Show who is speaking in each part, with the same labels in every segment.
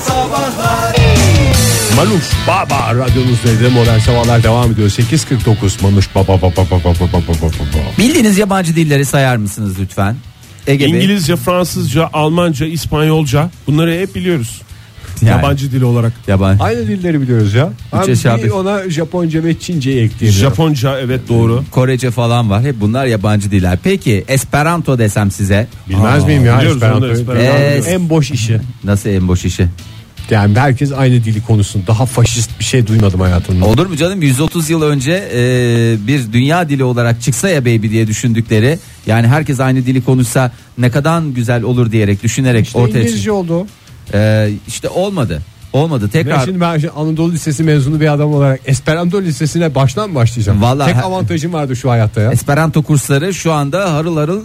Speaker 1: Sabahlar
Speaker 2: Manuş Baba radyonuzdaydı. Modern Sabahlar devam ediyor. 8.49 Manuş Baba Baba Baba Baba Baba Baba.
Speaker 3: Bildiğiniz yabancı dilleri sayar mısınız lütfen? Ege Bey.
Speaker 4: İngilizce, Fransızca, Almanca, İspanyolca bunları hep biliyoruz.
Speaker 3: Yani.
Speaker 4: Yabancı dil olarak.
Speaker 3: Yabancı.
Speaker 2: Aynı dilleri biliyoruz ya. Ben
Speaker 3: eşya
Speaker 2: bir
Speaker 3: bir-
Speaker 2: ona Japonca ve Çince'yi ekleyebilirim.
Speaker 4: Japonca evet doğru.
Speaker 3: Korece falan var. Hep bunlar yabancı diller. Peki Esperanto desem size.
Speaker 2: Bilmez miyim ya?
Speaker 4: biliyoruz
Speaker 2: Esperanto.
Speaker 4: onu, Esperanto.
Speaker 2: Esperanto En boş işi.
Speaker 3: Nasıl en boş işi?
Speaker 2: Yani herkes aynı dili konusunda daha faşist bir şey duymadım hayatımda.
Speaker 3: Olur mu canım 130 yıl önce e, bir dünya dili olarak çıksa ya baby diye düşündükleri yani herkes aynı dili konuşsa ne kadar güzel olur diyerek düşünerek ortaya
Speaker 2: İngilizce
Speaker 3: çıktı.
Speaker 2: oldu.
Speaker 3: E, işte olmadı. Olmadı
Speaker 2: Ben
Speaker 3: tekrar.
Speaker 2: şimdi ben şimdi Anadolu Lisesi mezunu bir adam olarak Esperanto Lisesi'ne baştan mı başlayacağım?
Speaker 3: Vallahi-
Speaker 2: Tek avantajım vardı şu hayatta ya.
Speaker 3: Esperanto kursları şu anda harıl harıl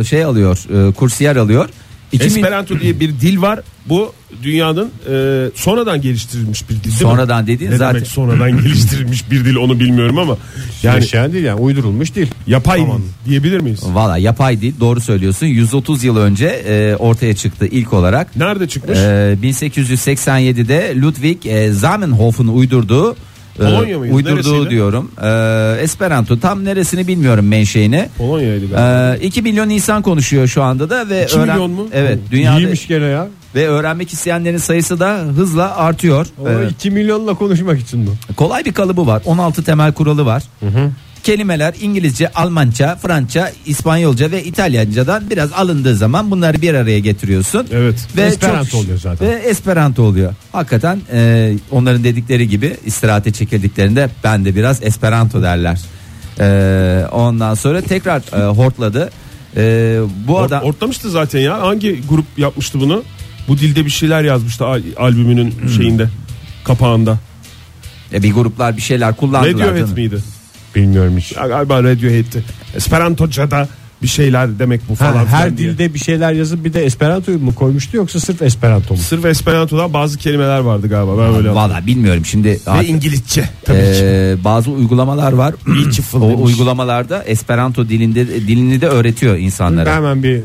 Speaker 3: e, şey alıyor. E, kursiyer alıyor. 2000
Speaker 4: Esperanto diye bir dil var. Bu dünyanın e, sonradan geliştirilmiş bir dil. değil mi?
Speaker 3: Sonradan dediğin
Speaker 4: ne
Speaker 3: zaten-
Speaker 4: demek sonradan geliştirilmiş bir dil onu bilmiyorum ama
Speaker 2: Yani
Speaker 4: yani
Speaker 2: yaşayan değil yani uydurulmuş değil.
Speaker 4: yapay diyebilir miyiz?
Speaker 3: Valla yapay değil doğru söylüyorsun 130 yıl önce e, ortaya çıktı ilk olarak
Speaker 4: Nerede çıkmış?
Speaker 3: E, 1887'de Ludwig e, Zamenhof'un uydurduğu e,
Speaker 4: Polonya mıydı?
Speaker 3: uydurduğu
Speaker 4: Neresiydi?
Speaker 3: diyorum e, Esperanto tam neresini bilmiyorum menşeini
Speaker 4: Polonya'ydı galiba.
Speaker 3: e, 2 milyon insan konuşuyor şu anda da ve
Speaker 4: 2 milyon mu?
Speaker 3: Evet
Speaker 4: Hı,
Speaker 3: dünyada
Speaker 2: İyiymiş gene ya.
Speaker 3: ve öğrenmek isteyenlerin sayısı da hızla artıyor.
Speaker 2: Ama
Speaker 3: E,
Speaker 2: 2 milyonla konuşmak için mi?
Speaker 3: Kolay bir kalıbı var. 16 temel kuralı var. Kelimeler İngilizce, Almanca, Fransa, İspanyolca ve İtalyancadan biraz alındığı zaman bunları bir araya getiriyorsun.
Speaker 4: Evet.
Speaker 3: Ve
Speaker 2: Esperanto
Speaker 3: çok-
Speaker 2: oluyor zaten.
Speaker 3: Ve Esperanto oluyor. Hakikaten e, onların dedikleri gibi istirahate çekildiklerinde ben de biraz Esperanto derler. E, ondan sonra tekrar e, hortladı. E, bu
Speaker 4: Or-
Speaker 3: adam
Speaker 4: ortlamıştı zaten ya. Hangi grup yapmıştı bunu? Bu dilde bir şeyler yazmıştı al- albümünün
Speaker 3: Hmm.
Speaker 4: şeyinde kapağında.
Speaker 3: e, bir gruplar bir şeyler kullandılar.
Speaker 4: Radiohead
Speaker 3: canım.
Speaker 4: miydi?
Speaker 2: Bilmiyorum hiç.
Speaker 4: Ya Galiba Radiohead'ti. Esperanto'ca'da bir şeyler demek bu falan.
Speaker 2: Ha,
Speaker 4: filan
Speaker 2: her
Speaker 4: diye.
Speaker 2: dilde bir şeyler yazıp bir de Esperanto'yu mu koymuştu yoksa sırf Esperanto mu?
Speaker 4: Sırf Esperanto'dan bazı kelimeler vardı galiba. Ben öyle hatırlıyorum.
Speaker 3: Valla bilmiyorum şimdi.
Speaker 4: Ve İngilizce tabii ki.
Speaker 3: Ee, bazı uygulamalar var. o uygulamalarda Esperanto dilinde dilini de öğretiyor
Speaker 2: Ben
Speaker 3: insanlara.
Speaker 2: hemen bir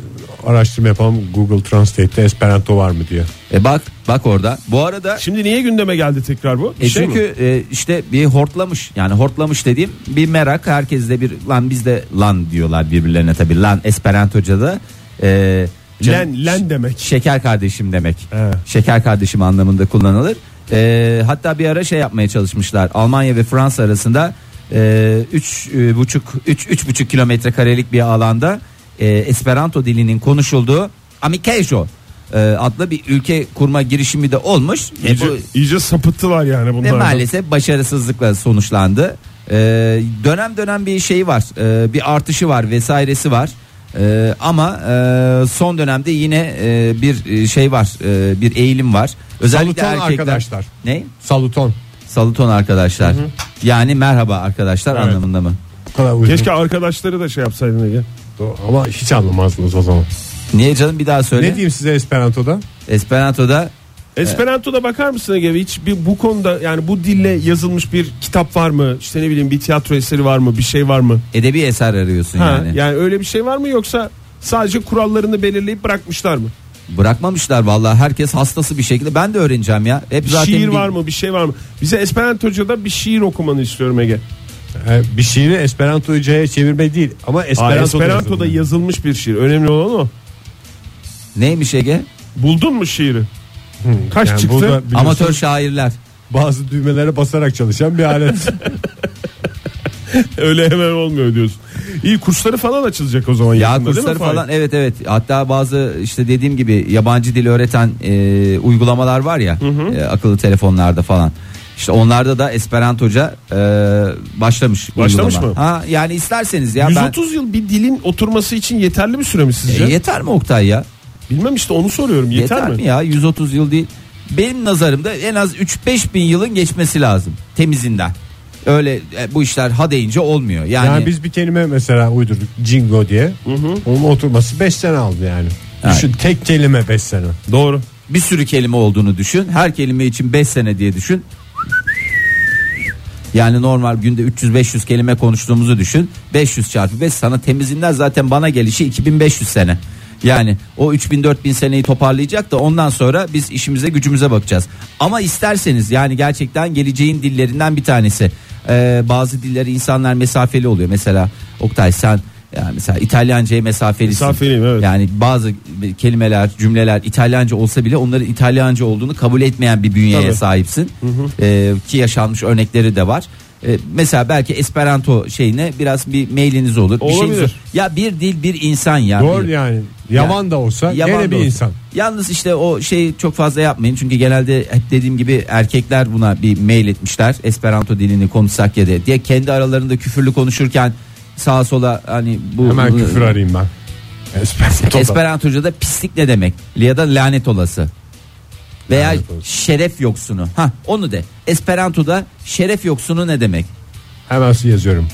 Speaker 2: araştırma yapalım Google Translate'te Esperanto var mı diye.
Speaker 3: E bak bak orada. Bu arada
Speaker 4: Şimdi niye gündeme geldi tekrar bu? Bir
Speaker 3: e
Speaker 4: şey mi?
Speaker 3: çünkü e, işte bir hortlamış yani hortlamış dediğim bir merak herkeste bir lan bizde lan diyorlar birbirlerine tabi lan Esperantoca da e, can-
Speaker 4: len len demek.
Speaker 3: şeker kardeşim demek.
Speaker 4: Evet.
Speaker 3: Şeker kardeşim anlamında kullanılır. E, hatta bir ara şey yapmaya çalışmışlar. Almanya ve Fransa arasında 3 buçuk üç- üç buçuk kilometre karelik bir alanda e, Esperanto dilinin konuşulduğu Amikejo e, adlı bir ülke kurma girişimi de olmuş. E,
Speaker 4: İyice,
Speaker 3: bu-
Speaker 4: iyice sapıttılar yani
Speaker 3: ve
Speaker 4: bunlar.
Speaker 3: maalesef başarısızlıkla sonuçlandı. Ee, dönem dönem bir şey var, ee, bir artışı var vesairesi var. Ee, ama e, son dönemde yine e, bir e, şey var, e, bir eğilim var. Özellikle
Speaker 2: Saluton
Speaker 3: erkekler.
Speaker 2: arkadaşlar.
Speaker 3: Ne?
Speaker 2: Saluton.
Speaker 3: Saluton arkadaşlar. Yani merhaba arkadaşlar
Speaker 4: Evet.
Speaker 3: anlamında mı?
Speaker 2: Bu kadar uygun.
Speaker 4: Keşke arkadaşları da şey yapsaydın Ege.
Speaker 2: Doğru, Ama hiç anlamazdınız o zaman.
Speaker 3: Niye canım bir daha
Speaker 2: Ne
Speaker 3: söyle.
Speaker 2: diyeyim size Esperanto'da?
Speaker 3: Esperanto'da
Speaker 4: Esperanto'da bakar mısın Ege? Hiç bir, bu konuda yani bu dille yazılmış bir kitap var mı? İşte ne bileyim bir tiyatro eseri var mı? Bir şey var mı?
Speaker 3: edebi eser arıyorsun
Speaker 4: Ha, yani.
Speaker 3: yani.
Speaker 4: öyle bir şey var mı yoksa sadece kurallarını belirleyip bırakmışlar mı?
Speaker 3: Bırakmamışlar vallahi herkes hastası bir şekilde. Ben de öğreneceğim ya. Hep
Speaker 4: Bir
Speaker 3: zaten
Speaker 4: şiir
Speaker 3: bir-
Speaker 4: var mı? Bir şey var mı? Bize Esperanto'da bir şiir okumanı istiyorum Ege.
Speaker 2: Ee, bir şiiri Esperanto'ya çevirme değil ama
Speaker 4: Aa,
Speaker 2: Esperanto'da,
Speaker 4: Esperanto'da
Speaker 2: yazılmış.
Speaker 4: yazılmış bir şiir. Önemli olan o.
Speaker 3: Neymiş Ege?
Speaker 4: Buldun mu şiiri? Kaç
Speaker 2: Yani
Speaker 4: çıktı?
Speaker 2: burada biliyorsun
Speaker 3: Amatör şairler.
Speaker 2: bazı düğmelere basarak çalışan bir alet.
Speaker 4: Öyle hemen olmuyor diyorsun. İyi kursları falan açılacak o zaman.
Speaker 3: Ya
Speaker 4: yakında değil mi
Speaker 3: kursları
Speaker 4: Fahir?
Speaker 3: falan evet evet hatta bazı işte dediğim gibi yabancı dil öğreten e, uygulamalar var ya e, akıllı telefonlarda falan. İşte onlarda da Esperantoca e, başlamış.
Speaker 4: Başlamış
Speaker 3: uygulama.
Speaker 4: mı?
Speaker 3: Ha yani isterseniz ya
Speaker 4: 130 yıl bir dilin oturması için yeterli bir süre mi
Speaker 3: ben
Speaker 4: sizce?
Speaker 3: E, yeter mi Oktay ya?
Speaker 4: Bilmem işte onu soruyorum. Yeter, mi?
Speaker 3: ya 130 yıl değil. Benim nazarımda en az 3-5 bin yılın geçmesi lazım temizinden. Öyle e, bu işler ha deyince olmuyor. Yani,
Speaker 2: Yani, biz bir kelime mesela uydurduk Jingo diye. Onun oturması 5 sene aldı yani.
Speaker 3: Evet.
Speaker 2: Düşün tek kelime 5 sene.
Speaker 4: Doğru.
Speaker 3: bir sürü kelime olduğunu düşün. Her kelime için 5 sene diye düşün. Yani normal günde 300-500 kelime konuştuğumuzu düşün. 500 çarpı 5 sana temizinden zaten bana gelişi 2500 sene. Yani o 3000-4000 seneyi toparlayacak da ondan sonra biz işimize gücümüze bakacağız. Ama isterseniz yani gerçekten geleceğin dillerinden bir tanesi. Ee, bazı dilleri insanlar mesafeli oluyor. Mesela Oktay sen yani mesela İtalyanca'ya mesafelisin.
Speaker 4: Mesafeliyim, evet.
Speaker 3: Yani bazı kelimeler, cümleler İtalyanca olsa bile onların İtalyanca olduğunu kabul etmeyen bir bünyeye
Speaker 4: Tabii.
Speaker 3: sahipsin. Ee, ki yaşanmış örnekleri de var. Ee, mesela belki Esperanto şeyine biraz bir mailiniz olur. Bir şeyiniz
Speaker 4: Olabilir.
Speaker 3: olur. Ya bir dil bir insan ya.
Speaker 2: Doğru
Speaker 3: Bir-
Speaker 2: yani. Yaman da olsa
Speaker 3: Yaban
Speaker 2: gene bir
Speaker 3: dostu.
Speaker 2: insan.
Speaker 3: Yalnız işte o şeyi çok fazla yapmayın çünkü genelde hep dediğim gibi erkekler buna bir mail etmişler. Esperanto dilini konuşsak ya diye. diye kendi aralarında küfürlü konuşurken sağa sola hani bu
Speaker 2: Hemen
Speaker 3: bu-
Speaker 2: küfür arayayım ben. Esperanto'da.
Speaker 3: Esperanto'da pislik ne demek? Ya da lanet olası. Veya
Speaker 2: Lanet olası.
Speaker 3: şeref yoksunu. Ha onu de. Esperanto'da şeref yoksunu ne demek?
Speaker 2: Hemen size yazıyorum.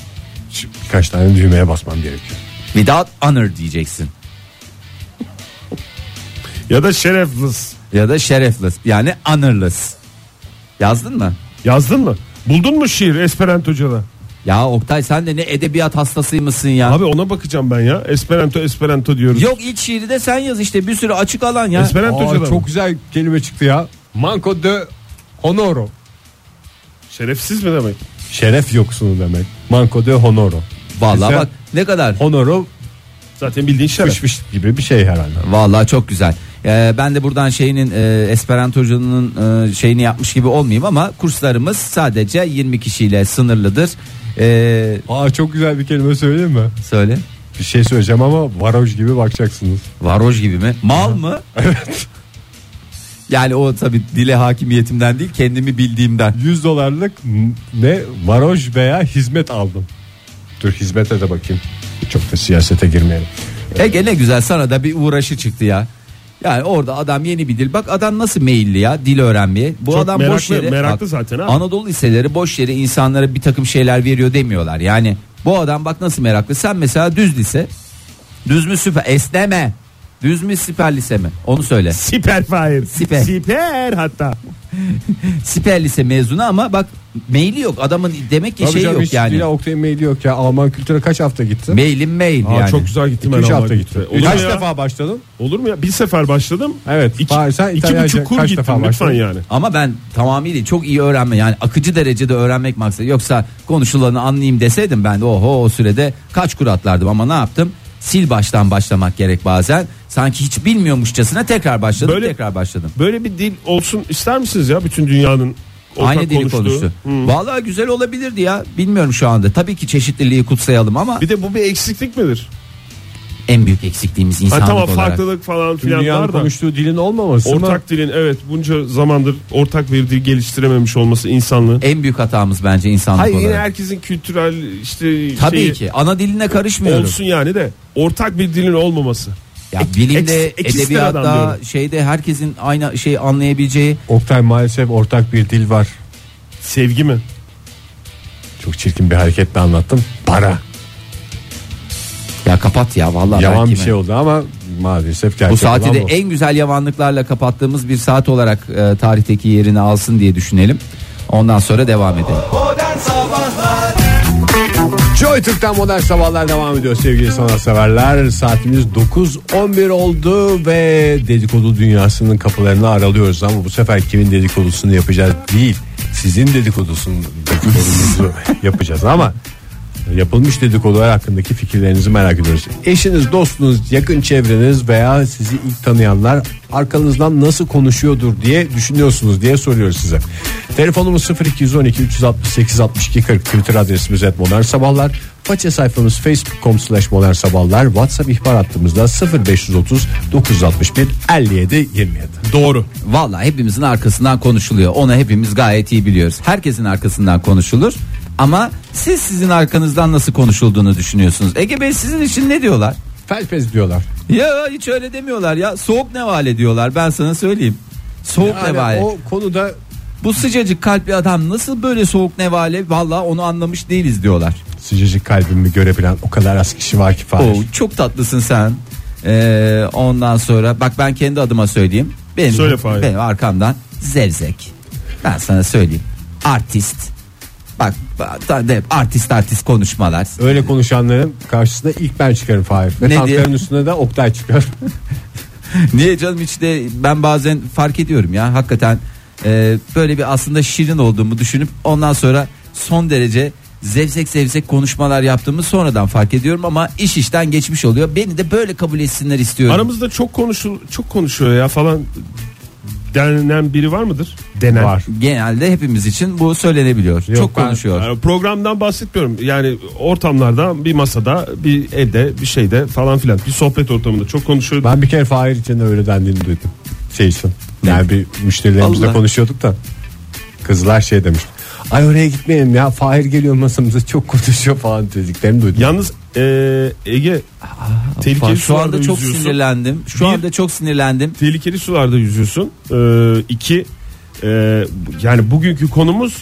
Speaker 2: Şimdi Birkaç tane düğmeye basmam gerekiyor.
Speaker 3: Without honor diyeceksin.
Speaker 4: Ya da şerefliz.
Speaker 3: Ya da şerefless yani honorless. Yazdın mı?
Speaker 4: Yazdın mı? Buldun mu şiir Esperanto'da?
Speaker 3: Ya Oktay sen de ne edebiyat hastasıymışsın ya.
Speaker 4: Abi ona bakacağım ben ya. Esperanto Esperanto diyoruz.
Speaker 3: Yok ilk şiiri de sen yaz işte bir sürü açık alan ya.
Speaker 4: Esperanto
Speaker 2: Aa,
Speaker 4: Hoca'da
Speaker 2: çok
Speaker 4: mı?
Speaker 2: güzel kelime çıktı ya. Manco de honoro.
Speaker 4: Şerefsiz mi demek?
Speaker 2: Şeref yoksunu demek. Manco de honoro.
Speaker 3: Vallahi
Speaker 2: Güzel.
Speaker 3: bak ne kadar.
Speaker 2: Honoro
Speaker 4: Zaten bildiğin şeref.
Speaker 2: fış fış gibi bir şey herhalde.
Speaker 3: Vallahi çok güzel. Ee, ben de buradan şeyinin e, Esperanto'cunun e, şeyini yapmış gibi olmayayım ama kurslarımız sadece 20 kişiyle sınırlıdır. Ee,
Speaker 2: Aa çok güzel bir kelime söyleyeyim mi?
Speaker 3: söyle.
Speaker 2: Bir şey söyleyeceğim ama varoş gibi bakacaksınız.
Speaker 3: Varoş gibi mi? Mal mı? Evet. Yani o tabi dile hakimiyetimden değil kendimi bildiğimden.
Speaker 2: 100 dolarlık ne varoş veya hizmet aldım. Dur hizmete de bakayım. Çok da siyasete girmeyelim.
Speaker 3: Ege ne güzel sana da bir uğraşı çıktı ya. Yani orada adam yeni bir dil. Bak adam nasıl meyilli ya dil öğrenmeye. Bu
Speaker 4: Çok
Speaker 3: adam boş
Speaker 4: meraklı-
Speaker 3: yere.
Speaker 4: meraklı
Speaker 3: bak,
Speaker 4: zaten ha.
Speaker 3: Anadolu liseleri boş yere insanlara bir takım şeyler veriyor demiyorlar. Yani bu adam bak nasıl meraklı. Sen mesela düz lise. Düz mü süper? Esneme. Düz mü süper lise mi? Onu söyle.
Speaker 4: Siper Fahir.
Speaker 3: Siper.
Speaker 4: Siper hatta.
Speaker 3: Süper lise mezunu ama bak meyli yok. Adamın demek ki
Speaker 2: Tabii
Speaker 3: şey
Speaker 2: canım,
Speaker 3: yok
Speaker 2: hiç
Speaker 3: yani.
Speaker 2: Dila Oktay'ın maili yok ya. Alman kültüre kaç hafta gittin?
Speaker 3: Meylin meyil
Speaker 4: Aa,
Speaker 3: yani.
Speaker 4: Çok güzel gittim
Speaker 2: İki,
Speaker 4: ben
Speaker 2: üç
Speaker 4: Almanya'ya.
Speaker 2: hafta gittin.
Speaker 4: Olur mu
Speaker 2: kaç
Speaker 4: ya?
Speaker 2: defa başladın?
Speaker 4: Olur mu ya? Bir sefer başladım.
Speaker 2: Evet.
Speaker 4: İki,
Speaker 2: Fahir, sen
Speaker 4: iki
Speaker 2: İtalyanca
Speaker 4: buçuk kur
Speaker 2: kaç
Speaker 4: gittim
Speaker 2: defa
Speaker 4: lütfen
Speaker 2: başladın?
Speaker 4: yani.
Speaker 3: Ama ben tamamıyla çok iyi öğrenme yani akıcı derecede öğrenmek maksadı. Yoksa konuşulanı anlayayım deseydim ben de oho o sürede kaç kur atlardım ama ne yaptım? Sil baştan başlamak gerek bazen. Sanki hiç bilmiyormuşçasına tekrar başladım
Speaker 4: Böyle-
Speaker 3: tekrar başladım.
Speaker 4: Böyle bir dil olsun ister misiniz ya bütün dünyanın ortak
Speaker 3: Aynı dili
Speaker 4: konuştuğu? Hmm.
Speaker 3: konuştu.
Speaker 4: Hı.
Speaker 3: Vallahi güzel olabilirdi ya. Bilmiyorum şu anda. Tabii ki çeşitliliği kutsayalım ama
Speaker 4: Bir de bu bir eksiklik midir?
Speaker 3: en büyük eksikliğimiz
Speaker 4: Hani
Speaker 3: insanlık
Speaker 4: tamam
Speaker 3: olarak.
Speaker 4: farklılık falan filan
Speaker 2: Dünyanın
Speaker 4: var da.
Speaker 2: konuştuğu dilin olmaması mı?
Speaker 4: Ortak dilin evet bunca zamandır ortak bir dil geliştirememiş olması insanlığın.
Speaker 3: En büyük hatamız bence insanlık
Speaker 4: Hayır yine
Speaker 3: E, olarak.
Speaker 4: herkesin kültürel işte
Speaker 3: Tabii
Speaker 4: şeyi
Speaker 3: ki ana diline karışmıyoruz.
Speaker 4: olsun yani de ortak bir dilin olmaması.
Speaker 3: Ya bilimde,
Speaker 4: eks- eksister adam
Speaker 3: edebiyatta,
Speaker 4: diyorum.
Speaker 3: şeyde herkesin aynı şeyi anlayabileceği
Speaker 2: Oktay maalesef ortak bir dil var.
Speaker 4: Sevgi mi?
Speaker 2: Çok çirkin bir hareketle anlattım. Para.
Speaker 3: Ya kapat ya vallahi
Speaker 2: Yavan
Speaker 3: belki
Speaker 2: bir
Speaker 3: mi?
Speaker 2: şey oldu ama maalesef gerçek
Speaker 3: Bu saati
Speaker 2: olan
Speaker 3: de
Speaker 2: bu.
Speaker 3: en güzel yavanlıklarla kapattığımız bir saat olarak e, tarihteki yerini alsın diye düşünelim. Ondan sonra devam edelim.
Speaker 2: Joy Türk'ten modern sabahlar devam ediyor sevgili sanatseverler. Saatimiz 9.11 oldu ve dedikodu dünyasının kapılarını aralıyoruz ama bu sefer kimin dedikodusunu yapacağız değil. Sizin dedikodusunu dedikodunuzu yapacağız ama yapılmış dedikodular hakkındaki fikirlerinizi merak ediyoruz. Eşiniz, dostunuz, yakın çevreniz veya sizi ilk tanıyanlar arkanızdan nasıl konuşuyordur diye düşünüyorsunuz diye soruyoruz size. Telefonumuz 0212 368 62 40 Twitter adresimiz et sabahlar. Faça sayfamız facebook.com slash sabahlar. Whatsapp ihbar hattımızda 0530 961 57 27.
Speaker 4: Doğru.
Speaker 3: Vallahi hepimizin arkasından konuşuluyor. Onu hepimiz gayet iyi biliyoruz. Herkesin arkasından konuşulur. Ama siz sizin arkanızdan nasıl konuşulduğunu düşünüyorsunuz. Ege Bey sizin için ne diyorlar?
Speaker 2: Felpez diyorlar.
Speaker 3: Ya hiç öyle demiyorlar ya. Soğuk nevale diyorlar ben sana söyleyeyim. Soğuk
Speaker 2: Yani
Speaker 3: nevale.
Speaker 2: o konuda
Speaker 3: Bu sıcacık kalpli adam nasıl böyle soğuk nevale? Vallahi onu anlamış değiliz diyorlar.
Speaker 2: sıcacık kalbimi görebilen o kadar az kişi var ki Fahir.
Speaker 3: Oo, çok tatlısın sen. Ee, ondan sonra bak ben kendi adıma söyleyeyim. Benim,
Speaker 4: Söyle Fahir.
Speaker 3: benim arkamdan zevzek. Ben sana söyleyeyim. Artist. Bak bak, da- de- artist artist konuşmalar.
Speaker 2: Öyle konuşanların karşısına ilk ben çıkarım Fahir. Ve
Speaker 3: Ne
Speaker 2: tankların
Speaker 3: diye?
Speaker 2: üstüne de Oktay çıkar.
Speaker 3: Niye canım işte ben bazen fark ediyorum ya hakikaten e, böyle bir aslında şirin olduğumu düşünüp ondan sonra son derece zevzek zevzek konuşmalar yaptığımı sonradan fark ediyorum ama iş işten geçmiş oluyor. Beni de böyle kabul etsinler istiyorum.
Speaker 4: Aramızda çok konuşul çok konuşuyor ya falan denen biri var mıdır? Denen.
Speaker 2: Var.
Speaker 3: Genelde hepimiz için bu söylenebiliyor.
Speaker 2: Yok,
Speaker 3: çok
Speaker 2: ben-
Speaker 3: konuşuyor.
Speaker 4: Yani Ee, programdan bahsetmiyorum. Yani ortamlarda bir masada, bir evde, bir şeyde falan filan. Bir sohbet ortamında çok konuşuyor.
Speaker 2: Ben bir kere Fahir için de öyle dendiğini duydum. Şey için. Yani bir müşterilerimizle
Speaker 3: Allah.
Speaker 2: konuşuyorduk da. Kızlar şey demiş. Ay oraya gitmeyelim ya Fahir geliyor masamıza çok konuşuyor falan dediklerini duydum.
Speaker 4: Yalnız e, Ege tehlikeli
Speaker 3: Bak, şu
Speaker 4: sularda
Speaker 3: anda çok
Speaker 4: yüzüyorsun.
Speaker 3: sinirlendim. Şu
Speaker 4: Bir-
Speaker 3: anda çok sinirlendim.
Speaker 4: tehlikeli sularda yüzüyorsun. Ee, iki e, yani bugünkü konumuz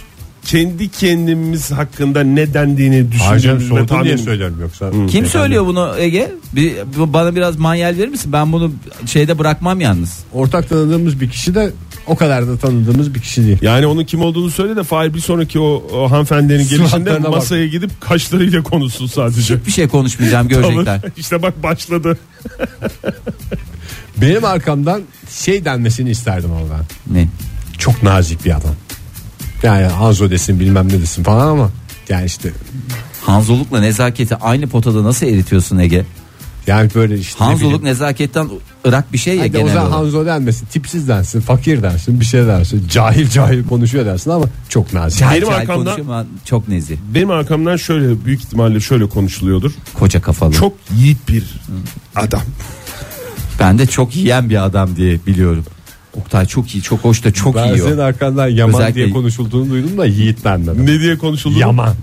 Speaker 4: kendi kendimiz hakkında ne dendiğini
Speaker 2: Hayır canım
Speaker 4: düşündüğümüz ve
Speaker 2: sordun diye
Speaker 4: tahmin
Speaker 2: söylüyorum yoksa.
Speaker 3: Kim
Speaker 2: Efendim,
Speaker 3: söylüyor bunu Ege? Bir, bu- bana biraz manyel verir misin? Ben bunu şeyde bırakmam yalnız.
Speaker 2: Ortak tanıdığımız bir kişi de o kadar da tanıdığımız bir kişi değil.
Speaker 4: Yani onun kim olduğunu söyle de Fahir bir sonraki o, o hanımefendinin gelişinde
Speaker 2: Suratlarına bak.
Speaker 4: masaya gidip kaşlarıyla konuşsun sadece.
Speaker 3: Hiçbir şey konuşmayacağım görecekler.
Speaker 4: işte bak başladı.
Speaker 2: Benim arkamdan şey denmesini isterdim oradan.
Speaker 3: ne?
Speaker 2: Çok nazik bir adam. Yani Hanzo desin bilmem ne desin falan ama yani işte
Speaker 3: Hanzolukla nezaketi aynı potada nasıl eritiyorsun Ege?
Speaker 2: yani böyle işte ne
Speaker 3: Hanzoluk
Speaker 2: bileyim.
Speaker 3: nezaketten ırak bir şey ya
Speaker 2: Hadi o
Speaker 3: genel
Speaker 2: zaman
Speaker 3: olarak.
Speaker 2: Hanzo denmesin tipsiz densin fakir dersin bir şey dersin cahil cahil konuşuyor dersin ama çok nazik.
Speaker 3: Çay
Speaker 4: Benim
Speaker 3: çay
Speaker 4: arkamdan-
Speaker 3: konuşuyor ama çok nezih.
Speaker 4: Benim arkamdan şöyle büyük ihtimalle şöyle konuşuluyordur.
Speaker 3: Koca kafalı.
Speaker 4: Çok yiğit bir adam.
Speaker 3: Ben de çok yiyen bir adam diye biliyorum. Oktay çok iyi, çok hoş da çok
Speaker 2: Ben
Speaker 3: yiyor.
Speaker 2: senin arkandan Yaman
Speaker 3: Özellikle-
Speaker 2: diye konuşulduğunu duydum da Yiğit denmedim.
Speaker 4: Ne diye konuşuldu?
Speaker 2: Yaman.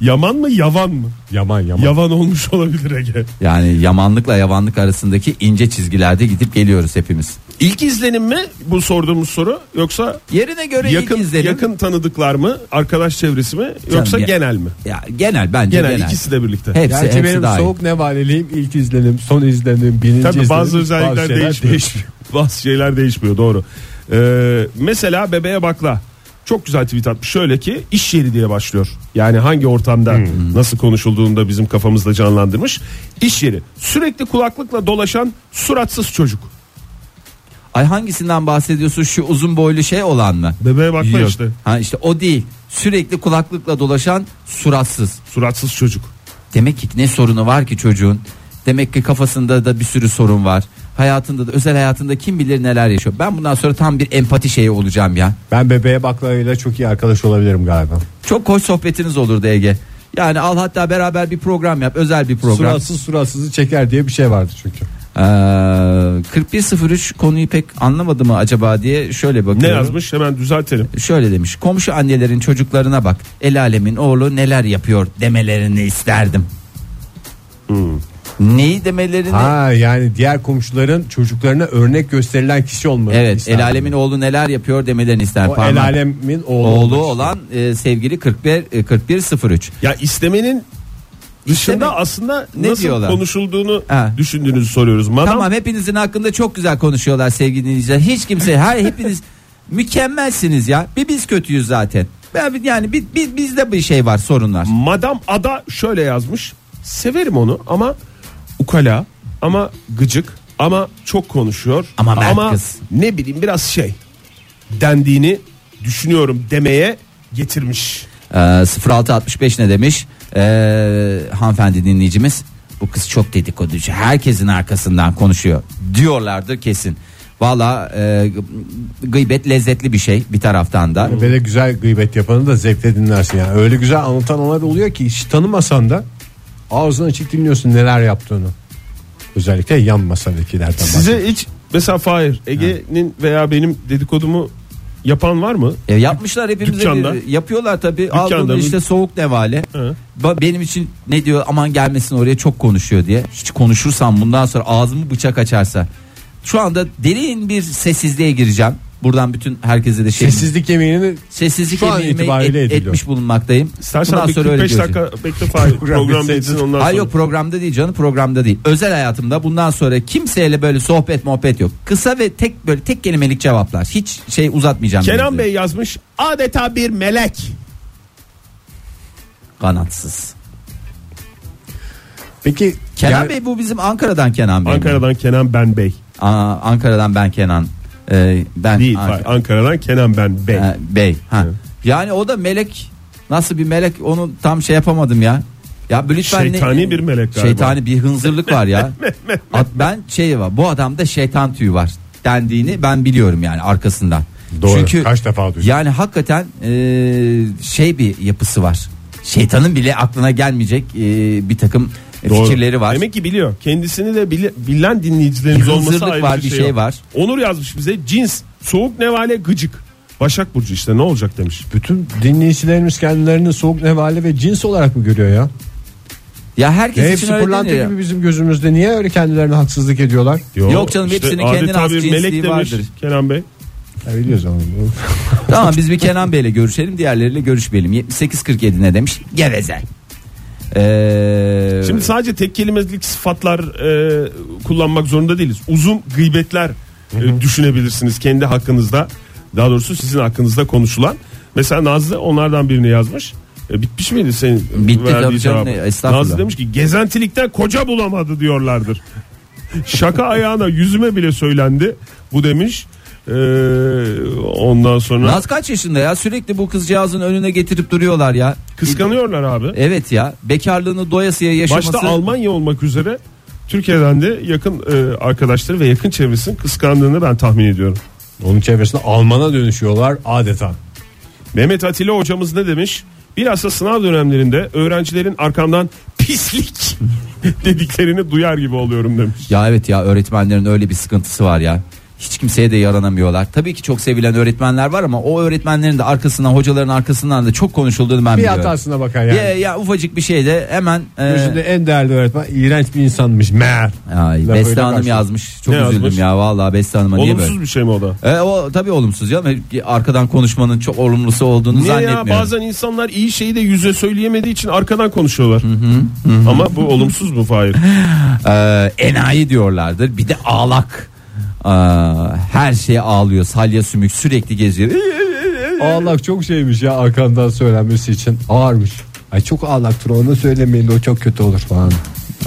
Speaker 4: Yaman mı yavan mı?
Speaker 2: Yaman Yaman.
Speaker 4: Yavan olmuş olabilir Ege.
Speaker 3: Yani yamanlıkla yavanlık arasındaki ince çizgilerde gidip geliyoruz hepimiz.
Speaker 4: İlk izlenim mi bu sorduğumuz soru yoksa
Speaker 3: Yerine göre
Speaker 4: yakın
Speaker 3: ilk izlenim.
Speaker 4: yakın tanıdıklar mı? Arkadaş çevresi mi? Yoksa
Speaker 3: ya-
Speaker 4: genel mi?
Speaker 3: Ya genel bence
Speaker 4: Genel,
Speaker 3: genel.
Speaker 4: ikisi de birlikte.
Speaker 3: Hepsi,
Speaker 2: Gerçi
Speaker 3: hepsi
Speaker 2: benim
Speaker 3: dahil.
Speaker 2: soğuk nevaleliğim ilk izlenim son izlenim birinci
Speaker 4: Tabii
Speaker 2: izlenim.
Speaker 4: bazı özellikler
Speaker 2: şeyler
Speaker 4: değişmiyor. Bazı şeyler değişmiyor doğru. Ee, mesela bebeğe bakla. Çok güzel tweet atmış. Şöyle ki iş yeri diye başlıyor. Yani hangi ortamda nasıl konuşulduğunu da bizim kafamızda canlandırmış. İş yeri. Sürekli kulaklıkla dolaşan suratsız çocuk.
Speaker 3: Ay hangisinden bahsediyorsun şu uzun boylu şey olan mı?
Speaker 4: Bebeğe bakla
Speaker 3: Yok.
Speaker 4: işte.
Speaker 3: Ha işte o değil. Sürekli kulaklıkla dolaşan suratsız.
Speaker 4: Suratsız çocuk.
Speaker 3: Demek ki ne sorunu var ki çocuğun? Demek ki kafasında da bir sürü sorun var. Hayatında da özel hayatında kim bilir neler yaşıyor. Ben bundan sonra tam bir empati şeyi olacağım ya.
Speaker 2: Ben bebeğe baklayla çok iyi arkadaş olabilirim galiba.
Speaker 3: Çok hoş sohbetiniz olurdu Ege. Yani al hatta beraber bir program yap. Özel bir program.
Speaker 2: Suratsız suratsızı çeker diye bir şey vardı çünkü.
Speaker 3: Ee, 4103 konuyu pek anlamadı mı acaba diye şöyle bakıyorum.
Speaker 4: Ne yazmış hemen düzeltelim.
Speaker 3: Şöyle demiş. Komşu annelerin çocuklarına bak. El alemin oğlu neler yapıyor demelerini isterdim. Neyi demelerini?
Speaker 2: Hmm. Ha yani diğer komşuların çocuklarına örnek gösterilen kişi olmalı.
Speaker 3: evet, el alemin oğlu neler yapıyor demelerini ister.
Speaker 2: o
Speaker 3: Parmak.
Speaker 2: el alemin oğlu,
Speaker 3: oğlu
Speaker 2: olmak
Speaker 3: olan e, sevgili 41 e, 4103.
Speaker 4: Ya istemenin dışında
Speaker 3: İsteme-
Speaker 4: aslında
Speaker 3: Ne
Speaker 4: nasıl
Speaker 3: diyorlar?
Speaker 4: konuşulduğunu
Speaker 3: Ha.
Speaker 4: düşündüğünüzü soruyoruz. Madam
Speaker 3: Tamam hepinizin hakkında çok güzel konuşuyorlar sevgili dinleyiciler. Hiç kimse her hepiniz mükemmelsiniz ya. Bir biz kötüyüz zaten. Ben yani biz, biz bizde bir şey var, sorun var.
Speaker 4: Madam Ada şöyle yazmış. Severim onu ama ukala ama gıcık ama çok konuşuyor.
Speaker 3: Ama mert kız.
Speaker 4: ne bileyim biraz şey dendiğini düşünüyorum demeye getirmiş.
Speaker 3: Ee, 0665 ne demiş? Ee, hanımefendi dinleyicimiz bu kız çok dedikoducu. Herkesin arkasından konuşuyor diyorlardır kesin. Valla e, gıybet lezzetli bir şey bir taraftan da.
Speaker 2: Ve de güzel gıybet yapanı da zevkle dinlersin yani. Öyle güzel anlatan ona da oluyor ki hiç tanımasan da ağzını açık dinliyorsun neler yaptığını. Özellikle yan masadakilerden bahsediyorum.
Speaker 4: Size hiç mesela Fahir Ege'nin veya benim dedikodumu yapan var mı?
Speaker 3: E, yapmışlar hepimize
Speaker 4: Dükkanda.
Speaker 3: bir- yapıyorlar tabi.
Speaker 4: Dükkanda
Speaker 3: Aldığında
Speaker 4: mı?
Speaker 3: işte soğuk nevale.
Speaker 4: Hı.
Speaker 3: Ba- Benim için ne diyor aman gelmesin oraya çok konuşuyor diye. Hiç konuşursam bundan sonra ağzımı bıçak açarsa. Şu anda derin bir sessizliğe gireceğim. Buradan bütün herkese de şey
Speaker 2: Sessizlik yemeğini
Speaker 3: sessizlik
Speaker 2: Şu an
Speaker 3: emeğimi
Speaker 2: itibariyle
Speaker 3: et-
Speaker 2: ediliyor.
Speaker 3: etmiş bulunmaktayım.
Speaker 4: İstersen bir 45
Speaker 3: göreceğim.
Speaker 4: dakika bekle Fahir program
Speaker 2: bitsin.
Speaker 4: bitsin ondan sonra.
Speaker 3: Hayır yok programda değil canım programda değil. Özel hayatımda bundan sonra kimseyle böyle sohbet muhabbet yok. Kısa ve tek böyle tek kelimelik cevaplar. Hiç şey uzatmayacağım.
Speaker 4: Kenan
Speaker 3: ben
Speaker 4: Bey yazmış adeta bir melek.
Speaker 3: kanatsız.
Speaker 2: Peki
Speaker 3: Kenan
Speaker 2: yer-
Speaker 3: Bey bu bizim Ankara'dan Kenan Bey. mi?
Speaker 4: Ankara'dan Kenan Ben Bey.
Speaker 3: Aa, Ankara'dan ben Kenan. Ee, ben
Speaker 4: Değil.
Speaker 3: Ank-
Speaker 4: hayır, Ankara'dan Kenan Ben Bey.
Speaker 3: Ha, Bey. Ha. Yani o da melek nasıl bir melek onu tam şey yapamadım ya. Ya bu lütfen ne-
Speaker 4: Şeytani bir melek galiba.
Speaker 3: Şeytani bir hınzırlık var ya. At ben şey var. Bu adamda şeytan tüyü var dendiğini ben biliyorum yani arkasından.
Speaker 2: Doğru.
Speaker 3: Çünkü
Speaker 2: Kaç defa duydum.
Speaker 3: yani hakikaten e, şey bir yapısı var. Şeytanın bile aklına gelmeyecek e, bir takım
Speaker 4: Doğru.
Speaker 3: fikirleri var.
Speaker 4: Demek ki biliyor. Kendisini de bile- bilen dinleyicilerimiz
Speaker 3: Bir
Speaker 4: olması
Speaker 3: hazırlık
Speaker 4: ayrı
Speaker 3: var,
Speaker 4: bir
Speaker 3: bir
Speaker 4: şey,
Speaker 3: şey var.
Speaker 4: Onur yazmış bize cins soğuk nevale gıcık. Başak Burcu işte ne olacak demiş.
Speaker 2: bütün dinleyicilerimiz kendilerini soğuk nevale ve cins olarak mı görüyor ya? E,
Speaker 3: Ya herkes
Speaker 2: Hepsi
Speaker 3: için öyle
Speaker 2: pırlanta
Speaker 3: deniyor.
Speaker 2: gibi bizim gözümüzde. Niye öyle kendilerine haksızlık ediyorlar?
Speaker 3: Yok canım, hepsinin
Speaker 4: adeta
Speaker 3: kendine has
Speaker 4: bir
Speaker 3: cinsliği
Speaker 4: melek demiş
Speaker 3: vardır.
Speaker 4: Kenan Bey.
Speaker 2: Ya biliyoruz ama. bu-
Speaker 3: Tamam biz bir Kenan Bey'le görüşelim diğerleriyle görüşmeyelim. 78-47 ne demiş? Geveze. Ee,
Speaker 4: Şimdi sadece tek kelimelik sıfatlar e, kullanmak zorunda değiliz. Uzun gıybetler e, düşünebilirsiniz kendi hakkınızda. Daha doğrusu sizin hakkınızda konuşulan. Mesela Nazlı onlardan birini yazmış. E, bitmiş miydi senin
Speaker 3: Bitti
Speaker 4: verdiği
Speaker 3: tabii
Speaker 4: cevabı?
Speaker 3: canım, ne- estağfurullah.
Speaker 4: Nazlı demiş ki gezentilikten koca bulamadı diyorlardır. Şaka ayağına yüzüme bile söylendi. Bu demiş. E, ondan sonra
Speaker 3: Naz kaç yaşında ya sürekli bu kızcağızın önüne getirip duruyorlar ya.
Speaker 4: kıskanıyorlar abi.
Speaker 3: Evet ya bekarlığını doyasıya yaşaması.
Speaker 4: Başta Almanya olmak üzere Türkiye'den de yakın e, arkadaşları ve yakın çevresinin kıskandığını ben tahmin ediyorum.
Speaker 2: Onun çevresinde Alman'a dönüşüyorlar adeta.
Speaker 4: Mehmet Atilla hocamız ne demiş? Bilhassa sınav dönemlerinde öğrencilerin arkamdan pislik dediklerini duyar gibi oluyorum demiş.
Speaker 3: Ya evet ya öğretmenlerin öyle bir sıkıntısı var ya. Hiç kimseye de yaranamıyorlar. Tabii ki çok sevilen öğretmenler var ama o öğretmenlerin de arkasından hocaların arkasından da çok konuşulduğunu ben
Speaker 2: Bir
Speaker 3: biliyorum.
Speaker 2: hatasına bakar yani.
Speaker 3: Ya, ya ufacık bir şeyde hemen e,
Speaker 2: Gözünde en değerli öğretmen iğrenç bir insanmış meğer.
Speaker 3: ay,
Speaker 2: Lafıyla
Speaker 3: Beste Hanım
Speaker 2: karşı.
Speaker 3: yazmış. Çok
Speaker 4: Ne
Speaker 3: üzüldüm
Speaker 4: yazmış?
Speaker 3: ya vallahi Beste Hanım'a niye böyle?
Speaker 4: Olumsuz bir şey mi o da?
Speaker 3: E, o tabii olumsuz ya. Arkadan konuşmanın çok olumlusu olduğunu
Speaker 4: Niye ya
Speaker 3: zannetmiyorum.
Speaker 4: bazen insanlar iyi şeyi de yüze söyleyemediği için arkadan konuşuyorlar. Ama bu olumsuz mu Fahir?
Speaker 3: Ee, enayi diyorlardır. Bir de ağlak. Ee, her şeye ağlıyor. Salya sümük sürekli geziyor. E,
Speaker 2: Allah çok şeymiş ya arkandan söylenmesi için ağırmış. Ay çok ağlaktır onu söylemeyin o çok kötü olur falan.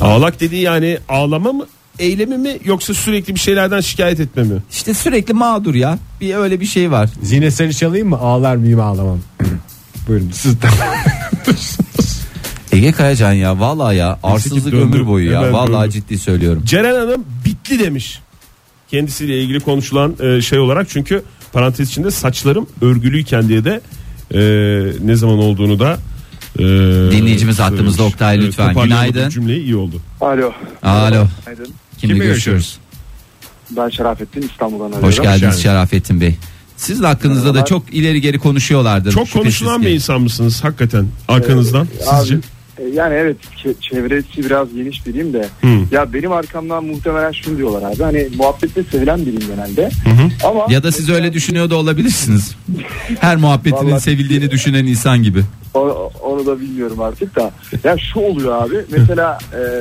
Speaker 4: Ağlak dediği yani ağlama mı? Eylemi mi yoksa sürekli bir şeylerden şikayet etme mi?
Speaker 3: İşte sürekli mağdur ya. Bir öyle bir şey var.
Speaker 2: Zinesleri çalayım mı ağlar mıyım ağlamam. Buyurun siz de.
Speaker 3: Ege Kayacan ya vallahi ya arsızlık
Speaker 4: döndü.
Speaker 3: ömür boyu ya.
Speaker 4: Hemen
Speaker 3: Vallahi
Speaker 4: döndü.
Speaker 3: ciddi söylüyorum.
Speaker 4: Ceren Hanım bitli demiş. Kendisiyle ilgili konuşulan e, şey olarak çünkü parantez içinde saçlarım örgülüyken diye de e, ne zaman olduğunu da e,
Speaker 3: Dinleyicimiz hattımızda
Speaker 4: söylemiş.
Speaker 3: Oktay, lütfen.
Speaker 4: toparlayamadım
Speaker 3: Günaydın.
Speaker 4: Cümleyi iyi oldu.
Speaker 1: Alo.
Speaker 3: Alo.
Speaker 1: Günaydın.
Speaker 3: Kimle
Speaker 2: Kimle
Speaker 3: görüşüyoruz?
Speaker 1: Ben Şerafettin İstanbul'dan arıyorum.
Speaker 3: Hoş geldiniz
Speaker 4: geldiniz.
Speaker 3: Şerafettin Bey. Sizin hakkınızda da çok ileri geri konuşuyorlardır.
Speaker 4: Çok
Speaker 3: şüphesiz
Speaker 4: konuşulan
Speaker 3: ki.
Speaker 4: bir insan mısınız hakikaten arkanızdan sizce?
Speaker 1: Abi, e, yani evet çe- çevresi biraz geniş biriyim de.
Speaker 4: Hı.
Speaker 1: Ya benim arkamdan muhtemelen şunu diyorlar abi. Hani muhabbette sevilen biriyim genelde. Ama
Speaker 3: Ya da siz öyle düşünüyor da olabilirsiniz. Her muhabbetinin
Speaker 1: Vallahi-
Speaker 3: sevildiğini düşünen insan gibi.
Speaker 1: O- onu da bilmiyorum artık da. Ya şu oluyor abi. Mesela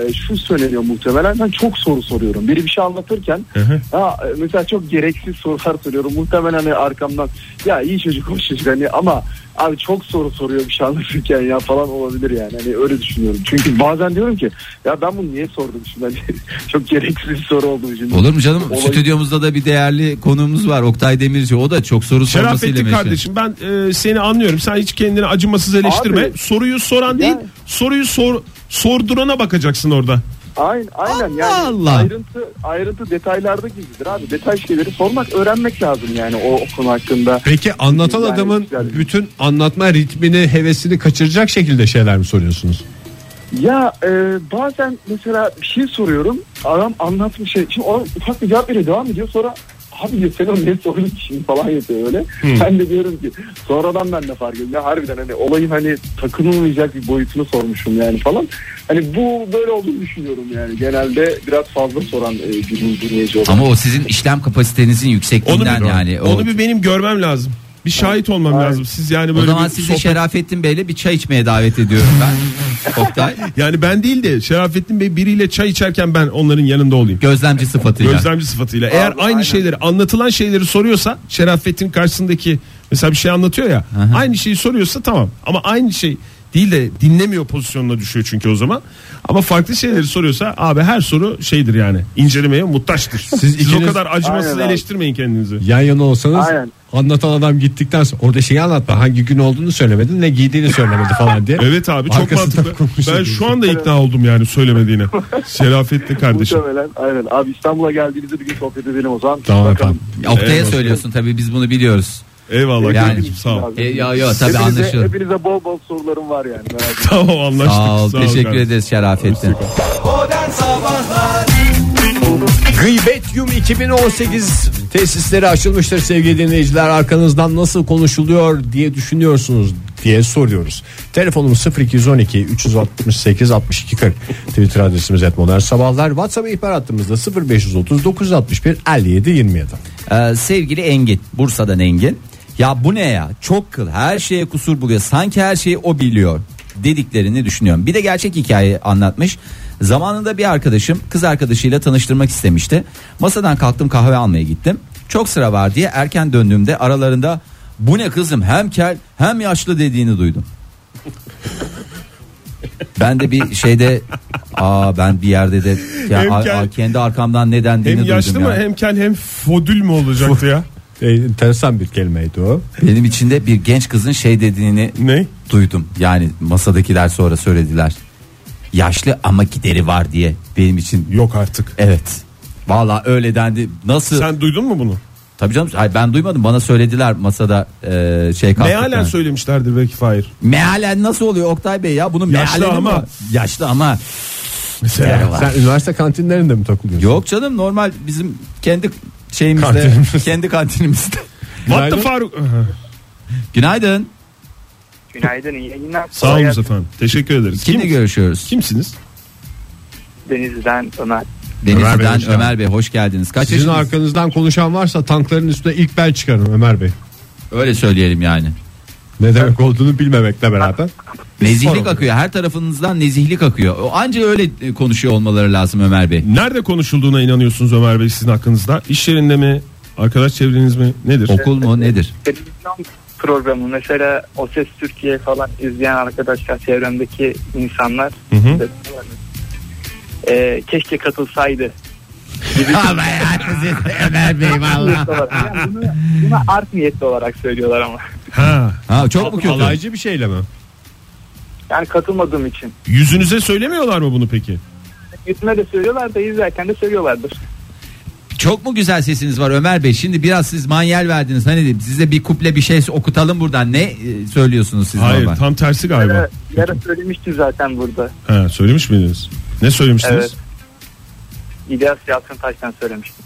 Speaker 1: e, şu söyleniyor muhtemelen. Ben çok soru soruyorum. Biri bir şey anlatırken
Speaker 4: hı.
Speaker 1: ha, e, mesela çok gereksiz sorular soruyorum. Muhtemelen hani arkamdan ya iyi çocuk hoş çocuk hani ama abi çok soru soruyor bir şey anlatırken ya falan olabilir yani. Hani öyle düşünüyorum. Çünkü bazen diyorum ki ya ben bunu niye sordum şimdi? Hani çok gereksiz bir soru oldu şimdi.
Speaker 3: Olur mu canım?
Speaker 1: Olay-
Speaker 3: Stüdyomuzda da bir değerli konuğumuz var. Oktay Demirci. O da çok soru sormasıyla
Speaker 4: Şerafettin
Speaker 3: meşhur.
Speaker 4: kardeşim ben e, seni anlıyorum. Sen hiç kendini acımasız eleştirme.
Speaker 1: Abi.
Speaker 4: soruyu soran değil,
Speaker 1: Ya.
Speaker 4: soruyu sor sordurana bakacaksın orada.
Speaker 1: Aynen, aynen
Speaker 3: Allah
Speaker 1: yani
Speaker 3: Allah.
Speaker 1: ayrıntı ayrıntı detaylarda gizlidir abi. Detay şeyleri sormak öğrenmek lazım yani o, o konu hakkında.
Speaker 2: Peki anlatan
Speaker 1: Yani
Speaker 2: adamın
Speaker 1: güzel.
Speaker 2: bütün anlatma ritmini hevesini kaçıracak şekilde şeyler mi soruyorsunuz?
Speaker 1: Ya e, bazen mesela bir şey soruyorum. Adam anlatmış şey. Şimdi o ufak bir cevap veriyor devam ediyor. Sonra abi diyor, sen onu ne sordun ki şimdi falan yapıyor öyle.
Speaker 3: Hmm.
Speaker 1: Ben de diyorum ki sonradan ben de fark ettim. Ya harbiden hani olayın hani takınılmayacak bir boyutunu sormuşum yani falan. Hani bu böyle olduğunu düşünüyorum yani. Genelde biraz fazla soran e, bir dinleyici olarak.
Speaker 3: Ama o sizin işlem kapasitenizin
Speaker 4: Onu
Speaker 3: yüksekliğinden
Speaker 4: bir,
Speaker 3: yani. O,
Speaker 4: onu bir benim görmem lazım. Bir şahit olmam
Speaker 1: Aynen.
Speaker 4: lazım. Siz yani
Speaker 3: o
Speaker 4: böyle
Speaker 3: zaman şey-
Speaker 4: bir
Speaker 3: sizi
Speaker 4: sohbet-
Speaker 3: Şerafettin Bey'le bir çay içmeye davet ediyorum ben. Oktay.
Speaker 4: Yani ben değil de Şerafettin Bey biriyle çay içerken ben onların yanında olayım.
Speaker 3: Gözlemci sıfatıyla.
Speaker 4: Gözlemci sıfatıyla. Eğer aynı
Speaker 1: aynen.
Speaker 4: şeyleri anlatılan şeyleri soruyorsa Şerafettin karşısındaki mesela bir şey anlatıyor ya. Aynı şeyi soruyorsa tamam. Ama aynı şey değil de dinlemiyor pozisyonuna düşüyor çünkü o zaman. Ama farklı şeyleri soruyorsa abi her soru şeydir yani incelemeye muhtaçtır. Siz, o
Speaker 2: ikiniz-
Speaker 4: kadar acımasız
Speaker 1: Aynen abi.
Speaker 4: eleştirmeyin kendinizi.
Speaker 2: Yan yana olsanız
Speaker 1: Aynen.
Speaker 2: anlatan adam gittikten sonra orada şeyi anlatma. Hangi gün olduğunu söylemedi ne giydiğini söylemedi falan diye.
Speaker 4: Evet abi çok
Speaker 2: Arkasından
Speaker 4: mantıklı.
Speaker 2: konuşuyor.
Speaker 4: Ben şu anda ikna oldum yani söylemediğine. Şerafetli kardeşim.
Speaker 1: Muhtemelen aynen. Abi İstanbul'a geldiğimizde bir gün sohbet edelim o zaman.
Speaker 2: Tamam
Speaker 1: Bakalım.
Speaker 2: efendim.
Speaker 3: Oktay'a
Speaker 4: Evet.
Speaker 3: söylüyorsun tabii biz bunu biliyoruz.
Speaker 4: Eyvallah
Speaker 3: Yani-
Speaker 4: kardeşim sağ ol.
Speaker 1: Abi.
Speaker 3: E, yo, yo, tabii
Speaker 1: hepinize,
Speaker 3: anlaşılır.
Speaker 1: Hepinize bol bol sorularım var yani. merak etmeyin.
Speaker 4: Tamam anlaştık.
Speaker 3: Sağ ol, teşekkür
Speaker 4: kardeşim.
Speaker 3: ederiz Şerafettin.
Speaker 2: Gıybet Yum 2018 tesisleri açılmıştır sevgili dinleyiciler. Arkanızdan nasıl konuşuluyor diye düşünüyorsunuz diye soruyoruz. Telefonumuz 0212 368 62 40. Twitter adresimiz @modernsabahlar. WhatsApp ihbar hattımızda 0530 961 57 27.
Speaker 3: Ee, sevgili Engin, Bursa'dan Engin. Ya bu ne ya? Çok kıl. Her şeye kusur buluyor. Sanki her şeyi o biliyor dediklerini düşünüyorum. Bir de gerçek hikaye anlatmış. Zamanında bir arkadaşım kız arkadaşıyla tanıştırmak istemişti. Masadan kalktım kahve almaya gittim. Çok sıra var diye erken döndüğümde aralarında bu ne kızım hem kel hem yaşlı dediğini duydum. Ben de bir şeyde aa ben bir yerde de ya,
Speaker 4: Hem
Speaker 3: a- a-
Speaker 4: kel-
Speaker 3: kendi arkamdan ne dendiğini
Speaker 4: Hem
Speaker 3: duydum.
Speaker 4: yaşlı mı
Speaker 3: ya.
Speaker 4: hem kel hem fodül mü olacaktı ya?
Speaker 2: E, enteresan bir kelimeydi o.
Speaker 3: Benim içinde bir genç kızın şey dediğini
Speaker 4: Ne?
Speaker 3: duydum. Yani masadakiler sonra söylediler. Yaşlı ama gideri var diye benim için.
Speaker 4: Yok artık.
Speaker 3: Evet. Vallahi öyle dendi. Nasıl?
Speaker 4: Sen duydun mu bunu?
Speaker 3: Tabii canım. Hayır, ben duymadım. Bana söylediler masada e, şey kalktı.
Speaker 4: Mealen söylemişlerdir belki Fahir.
Speaker 3: Mealen nasıl oluyor Oktay Bey ya? Bunun
Speaker 4: Yaşlı
Speaker 3: mealeni
Speaker 4: ama.
Speaker 3: mi? Yaşlı ama.
Speaker 4: Mesela.
Speaker 3: Gideri var.
Speaker 2: Sen üniversite kantinlerinde mi takılıyorsun?
Speaker 3: Yok canım normal bizim kendi şeyimizde. Kendi kantinimizde.
Speaker 4: What the
Speaker 2: Günaydın.
Speaker 4: Faruk?
Speaker 3: Günaydın.
Speaker 5: Günaydın, iyi yayınlar.
Speaker 4: Sağ olun efendim. Teşekkür ederiz.
Speaker 3: Kimle
Speaker 4: Kim,
Speaker 3: görüşüyoruz?
Speaker 4: kimsiniz?
Speaker 5: Denizli'den Ömer.
Speaker 3: Denizli'den
Speaker 4: Ömer Bey,
Speaker 3: Ömer
Speaker 4: hoş
Speaker 3: Bey, hoş geldiniz. Kaç
Speaker 2: Sizin
Speaker 3: yaşındasınız?
Speaker 2: arkanızdan konuşan varsa tankların üstüne ilk ben çıkarım Ömer Bey.
Speaker 3: Öyle söyleyelim yani.
Speaker 2: Ne demek olduğunu bilmemekle beraber.
Speaker 3: Nezihlik akıyor. Her tarafınızdan nezihlik akıyor. O Anca öyle e, konuşuyor olmaları lazım Ömer Bey.
Speaker 4: Nerede konuşulduğuna inanıyorsunuz Ömer Bey sizin hakkınızda? İş yerinde mi? Arkadaş çevreniz mi? Nedir?
Speaker 3: Okul mu nedir?
Speaker 5: Televizyon programı mesela O Ses Türkiye falan izleyen arkadaşlar çevremdeki insanlar
Speaker 4: Hı hı.
Speaker 5: e, keşke katılsaydı.
Speaker 3: Ama ya siz Ömer Bey valla.
Speaker 5: Yani bunu, buna art niyetli olarak söylüyorlar ama.
Speaker 4: Ha.
Speaker 3: Ha, çok mu kötü?
Speaker 2: Alaycı bir şeyle mi?
Speaker 5: Yani katılmadığım için.
Speaker 4: Yüzünüze söylemiyorlar mı bunu peki?
Speaker 5: Yüzüme de söylüyorlar da izlerken de söylüyorlardır.
Speaker 3: Çok mu güzel sesiniz var Ömer Bey? Şimdi biraz siz manyel verdiniz. Hani dedim, size bir kuple bir şey okutalım buradan. Ne e, söylüyorsunuz siz
Speaker 4: Hayır
Speaker 3: normal?
Speaker 4: tam tersi galiba.
Speaker 5: Yara, yara söylemiştim zaten burada.
Speaker 4: Ha, söylemiş miydiniz? Ne söylemiştiniz?
Speaker 5: Evet. İlyas Yalçın Taş'tan söylemiştim.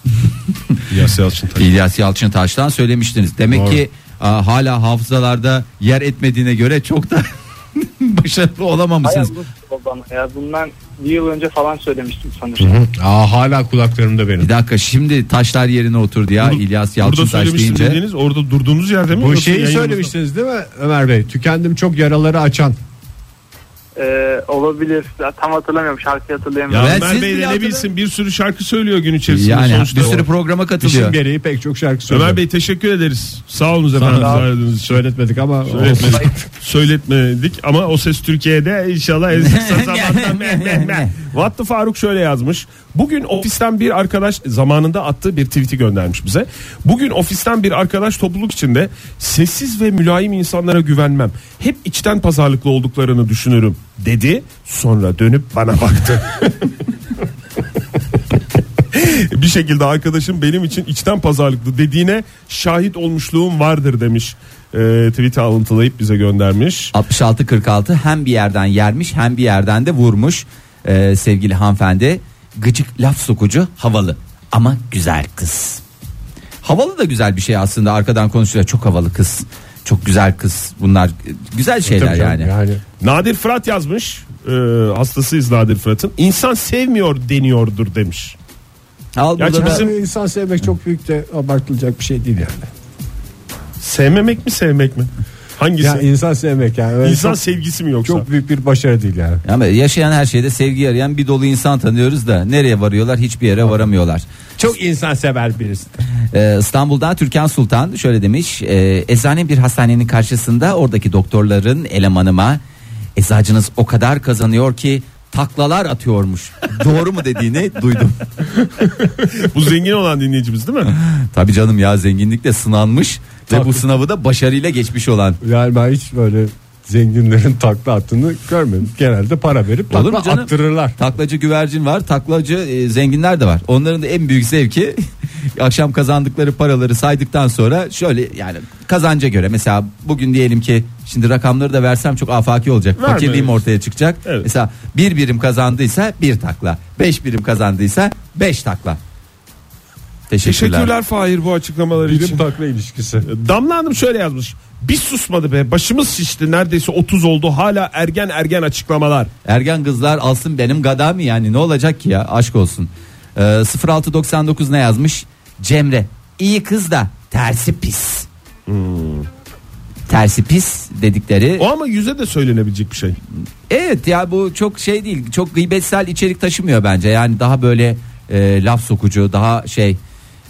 Speaker 4: Yas Yalçın tabii.
Speaker 3: İlyas Yalçıntaş'tan söylemiştiniz. Demek
Speaker 4: Doğru.
Speaker 3: ki a, hala hafızalarda yer etmediğine göre çok da başarılı olamamışsınız.
Speaker 5: Bayağı uzun süre oldu ama ya. Bundan bir yıl önce falan söylemiştim sanırım.
Speaker 2: Aa, hala kulaklarımda benim.
Speaker 3: Bir dakika şimdi taşlar yerine oturdu ya
Speaker 4: Burada-
Speaker 3: İlyas
Speaker 4: Burada
Speaker 3: Yalçıntaş
Speaker 4: söylemiştim
Speaker 3: deyince.
Speaker 4: dediğiniz orada durduğunuz yerde mi?
Speaker 2: Bu
Speaker 4: yoksa
Speaker 2: şeyi
Speaker 4: yayınımızda-
Speaker 2: söylemiştiniz değil mi Ömer Bey? Tükendim çok yaraları açan.
Speaker 5: Ee, olabilir. Ya Tam hatırlamıyorum. Şarkıyı hatırlayamıyorum.
Speaker 4: Ya
Speaker 3: Ben
Speaker 4: Ömer
Speaker 3: siz
Speaker 4: Bey
Speaker 3: bile
Speaker 4: de ne
Speaker 3: hatırlamıyorum.
Speaker 4: bilsin bir sürü şarkı söylüyor gün içerisinde
Speaker 3: Yani
Speaker 4: sonuçta.
Speaker 3: bir sürü programa
Speaker 2: İşin
Speaker 3: katılıyor.
Speaker 2: gereği pek çok şarkı söylüyor.
Speaker 4: Ömer Bey teşekkür ederiz. Sağ olun efendim.
Speaker 2: Sağ olun.
Speaker 4: aradığınız için.
Speaker 2: söyletmedik ama olsun.
Speaker 4: Söyletmedik. Söyletmedik ama o ses Türkiye'de inşallah en kısa zamanda meh meh meh. Vatlı Faruk şöyle yazmış. Bugün ofisten bir arkadaş zamanında attığı bir tweet'i göndermiş bize. Bugün ofisten bir arkadaş topluluk içinde sessiz ve mülayim insanlara güvenmem. Hep içten pazarlıklı olduklarını düşünürüm dedi. Sonra dönüp bana baktı. bir şekilde arkadaşım benim için içten pazarlıklı dediğine şahit olmuşluğum vardır demiş. Ee, tweet'i alıntılayıp bize göndermiş.
Speaker 3: 66-46 hem bir yerden yermiş hem bir yerden de vurmuş Ee, sevgili hanımefendi. Gıcık laf sokucu havalı ama güzel kız. Havalı da güzel bir şey aslında arkadan konuşuyor çok havalı kız. Çok güzel kız bunlar e, güzel şeyler
Speaker 2: Tabii canım,
Speaker 3: yani.
Speaker 4: Nadir Fırat yazmış. Ee, hastasıyız Nadir Fırat'ın. İnsan sevmiyor deniyordur demiş.
Speaker 3: Al
Speaker 4: Gerçi
Speaker 3: burada da-
Speaker 4: bizim-
Speaker 2: insan sevmek çok büyük de abartılacak bir şey değil yani.
Speaker 4: Sevmemek mi sevmek mi? Hangisi?
Speaker 2: Ya insan sevmek yani. Öyle
Speaker 4: İnsan
Speaker 2: çok,
Speaker 4: sevgisi mi yoksa?
Speaker 2: çok büyük bir başarı değil yani.
Speaker 3: Ama yaşayan her şeyde sevgi arayan bir dolu insan tanıyoruz da nereye varıyorlar hiçbir yere varamıyorlar.
Speaker 2: Çok insan sever birisi.
Speaker 3: Ee, İstanbul'da Türkan Sultan "Ee, şöyle demiş. E, eczane bir hastanenin karşısında oradaki doktorların elemanıma Eczacınız o kadar kazanıyor ki taklalar atıyormuş. Doğru mu dediğini duydum.
Speaker 4: Bu zengin olan dinleyicimiz değil mi?
Speaker 3: Tabii canım ya zenginlikle sınanmış ve bu sınavı da başarıyla geçmiş olan.
Speaker 2: Yani ben hiç böyle zenginlerin takla attığını görmedim. Genelde para verip
Speaker 3: Olur mu
Speaker 2: takla
Speaker 3: canım?
Speaker 2: attırırlar.
Speaker 3: Taklacı güvercin var, taklacı e, zenginler de var. Onların da en büyük zevki akşam kazandıkları paraları saydıktan sonra şöyle yani kazanca göre mesela bugün diyelim ki şimdi rakamları da versem çok afaki olacak.
Speaker 4: Verme.
Speaker 3: Fakirliğim ortaya çıkacak.
Speaker 4: Evet.
Speaker 3: Mesela bir birim kazandıysa bir takla, beş birim kazandıysa beş takla. Teşekkürler.
Speaker 4: Teşekkürler Fahir bu açıklamalar
Speaker 2: Bilim
Speaker 4: için.
Speaker 2: takla ilişkisi.
Speaker 4: Damla Hanım şöyle yazmış. Bir susmadı be başımız şişti neredeyse 30 oldu hala ergen ergen açıklamalar.
Speaker 3: Ergen kızlar alsın benim gada mı yani ne olacak ki ya aşk olsun. Ee, 0699 ne yazmış? Cemre iyi kız da tersi pis. Tersi pis dedikleri.
Speaker 4: O ama yüze de söylenebilecek bir şey.
Speaker 3: Evet ya bu çok şey değil çok gıybetsel içerik taşımıyor bence. Yani daha böyle e, laf sokucu daha şey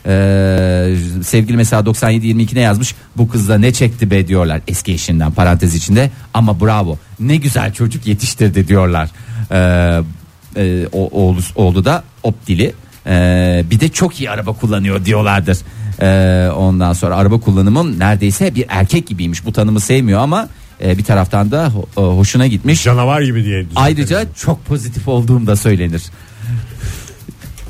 Speaker 3: e, sevgili mesela 97-22 ne yazmış? Bu kız da ne çekti be diyorlar eski eşinden parantez içinde. Ama bravo ne güzel çocuk yetiştirdi diyorlar. E, e, o, oğlu, oğlu da op dili. E, bir de çok iyi araba kullanıyor diyorlardır. E, ondan sonra araba kullanımın neredeyse bir erkek gibiymiş. Bu tanımı sevmiyor ama e, bir taraftan da ho- e, hoşuna gitmiş.
Speaker 2: Canavar gibi diye. düzeltelim.
Speaker 3: Ayrıca çok pozitif olduğum da söylenir.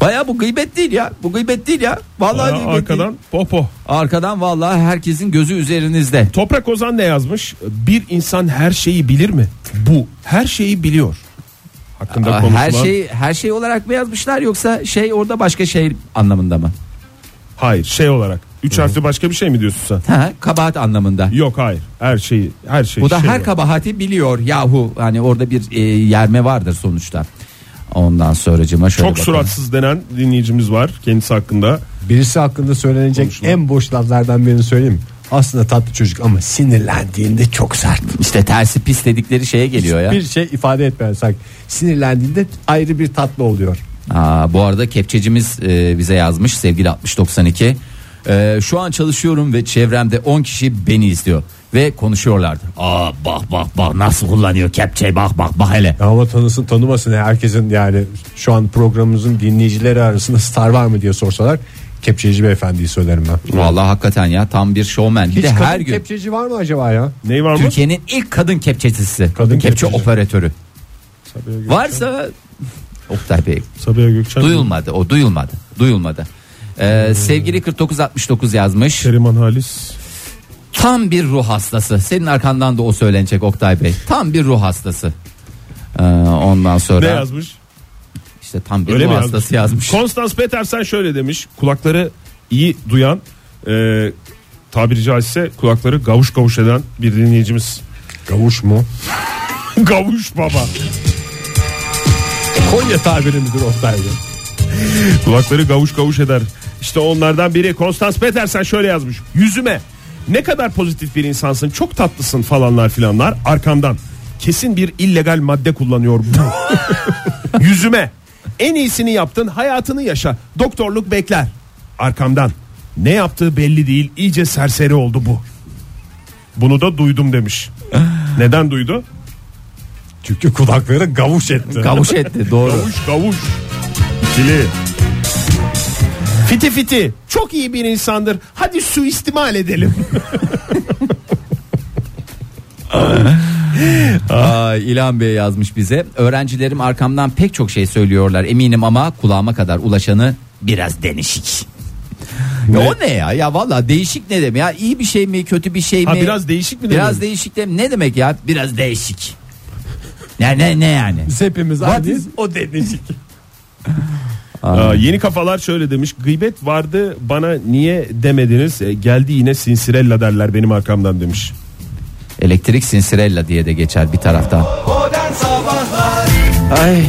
Speaker 3: Baya bu gıybet değil ya. Bu gıybet değil ya. Vallahi
Speaker 4: Aa,
Speaker 3: gıybet değil.
Speaker 4: arkadan popo.
Speaker 3: Arkadan vallahi herkesin gözü üzerinizde.
Speaker 4: Toprak Ozan ne yazmış? Bir insan her şeyi bilir mi? Bu her şeyi biliyor. Hakkında
Speaker 3: Aa,
Speaker 4: konuşulan.
Speaker 3: her şey her şey olarak mı yazmışlar yoksa şey orada başka şey anlamında mı?
Speaker 4: Hayır şey olarak. Üç harfli başka bir şey mi diyorsun sen?
Speaker 3: Ha, kabahat anlamında.
Speaker 4: Yok hayır. Her şeyi her şey.
Speaker 3: Bu da
Speaker 4: şey
Speaker 3: her
Speaker 4: olarak.
Speaker 3: kabahati biliyor yahu. Hani orada bir e, yerme vardır sonuçta. Ondan sonracıma şöyle
Speaker 4: Çok
Speaker 3: bakalım.
Speaker 4: suratsız denen dinleyicimiz var kendisi hakkında.
Speaker 2: Birisi hakkında söylenecek
Speaker 4: Konuşma.
Speaker 2: en boş laflardan birini söyleyeyim. mi? Aslında tatlı çocuk ama sinirlendiğinde çok sert.
Speaker 3: İşte tersi pis dedikleri şeye geliyor ya.
Speaker 2: Bir şey ifade etmeyen sanki. Sinirlendiğinde ayrı bir tatlı oluyor.
Speaker 3: Aa, bu arada kepçecimiz e, bize yazmış sevgili 6092. E, şu an çalışıyorum ve çevremde 10 kişi beni izliyor ve konuşuyorlardı. Aa bak bak bak nasıl kullanıyor kepçeyi bak bak bak hele.
Speaker 2: Ama tanısın tanımasın ya. herkesin yani şu an programımızın dinleyicileri arasında star var mı diye sorsalar kepçeci beyefendiyi söylerim ben.
Speaker 3: Vallahi hakikaten ya tam bir şovmen. Bir
Speaker 2: Hiç
Speaker 3: de
Speaker 2: kadın
Speaker 3: her gün
Speaker 2: kepçeci var mı acaba ya?
Speaker 4: Ney var mı?
Speaker 3: Türkiye'nin ilk kadın kepçecisi.
Speaker 2: Kadın
Speaker 3: Kadın kepçe
Speaker 2: kepçeci.
Speaker 3: operatörü.
Speaker 4: Sabiha Gökçen.
Speaker 3: Varsa Oktay Bey
Speaker 4: Sabiha Gökçen.
Speaker 3: duyulmadı o duyulmadı duyulmadı. E, sevgili 4969 yazmış.
Speaker 4: Keriman Halis.
Speaker 3: Tam bir ruh hastası. Senin arkandan da o söylenecek Oktay Bey. Tam bir ruh hastası. Ee, ondan
Speaker 4: Ne
Speaker 3: sonra
Speaker 4: yazmış?
Speaker 3: işte tam bir
Speaker 4: Öyle
Speaker 3: ruh
Speaker 4: mi
Speaker 3: hastası yazmış.
Speaker 4: Konstans Petersen şöyle demiş. Kulakları iyi duyan e, tabiri caizse kulakları gavuş gavuş eden bir dinleyicimiz.
Speaker 2: Gavuş mu?
Speaker 4: gavuş baba.
Speaker 2: Konya tabiri midir Oktay Bey?
Speaker 4: Kulakları gavuş gavuş eder. İşte onlardan biri Konstans Petersen şöyle yazmış. Yüzüme ne kadar pozitif bir insansın çok tatlısın falanlar filanlar arkamdan. Kesin bir illegal madde kullanıyor bu. Yüzüme en iyisini yaptın hayatını yaşa doktorluk bekler. Arkamdan ne yaptığı belli değil iyice serseri oldu bu. Bunu da duydum demiş. Neden duydu?
Speaker 2: Çünkü kulakları gavuş etti.
Speaker 3: Gavuş etti doğru.
Speaker 4: Gavuş gavuş. İkili. Fiti fiti çok iyi bir insandır. Hadi suistimal edelim.
Speaker 3: Aa, İlhan Bey yazmış bize. Öğrencilerim arkamdan pek çok şey söylüyorlar eminim ama kulağıma kadar ulaşanı biraz denişik. Ya o ne ya? Ya valla değişik ne demek ya? İyi bir şey mi, kötü bir şey mi?
Speaker 4: Ha, biraz değişik mi
Speaker 3: Biraz
Speaker 4: demek?
Speaker 3: değişik de ne demek ya? Biraz değişik. Ne ne ne yani?
Speaker 2: Biz hepimiz aynıyız.
Speaker 4: o denizlik. Aa, yeni kafalar şöyle demiş. Gıybet vardı bana niye demediniz? E, geldi yine sinsirella derler benim arkamdan demiş.
Speaker 3: Elektrik sinsirella diye de geçer bir taraftan. Ay.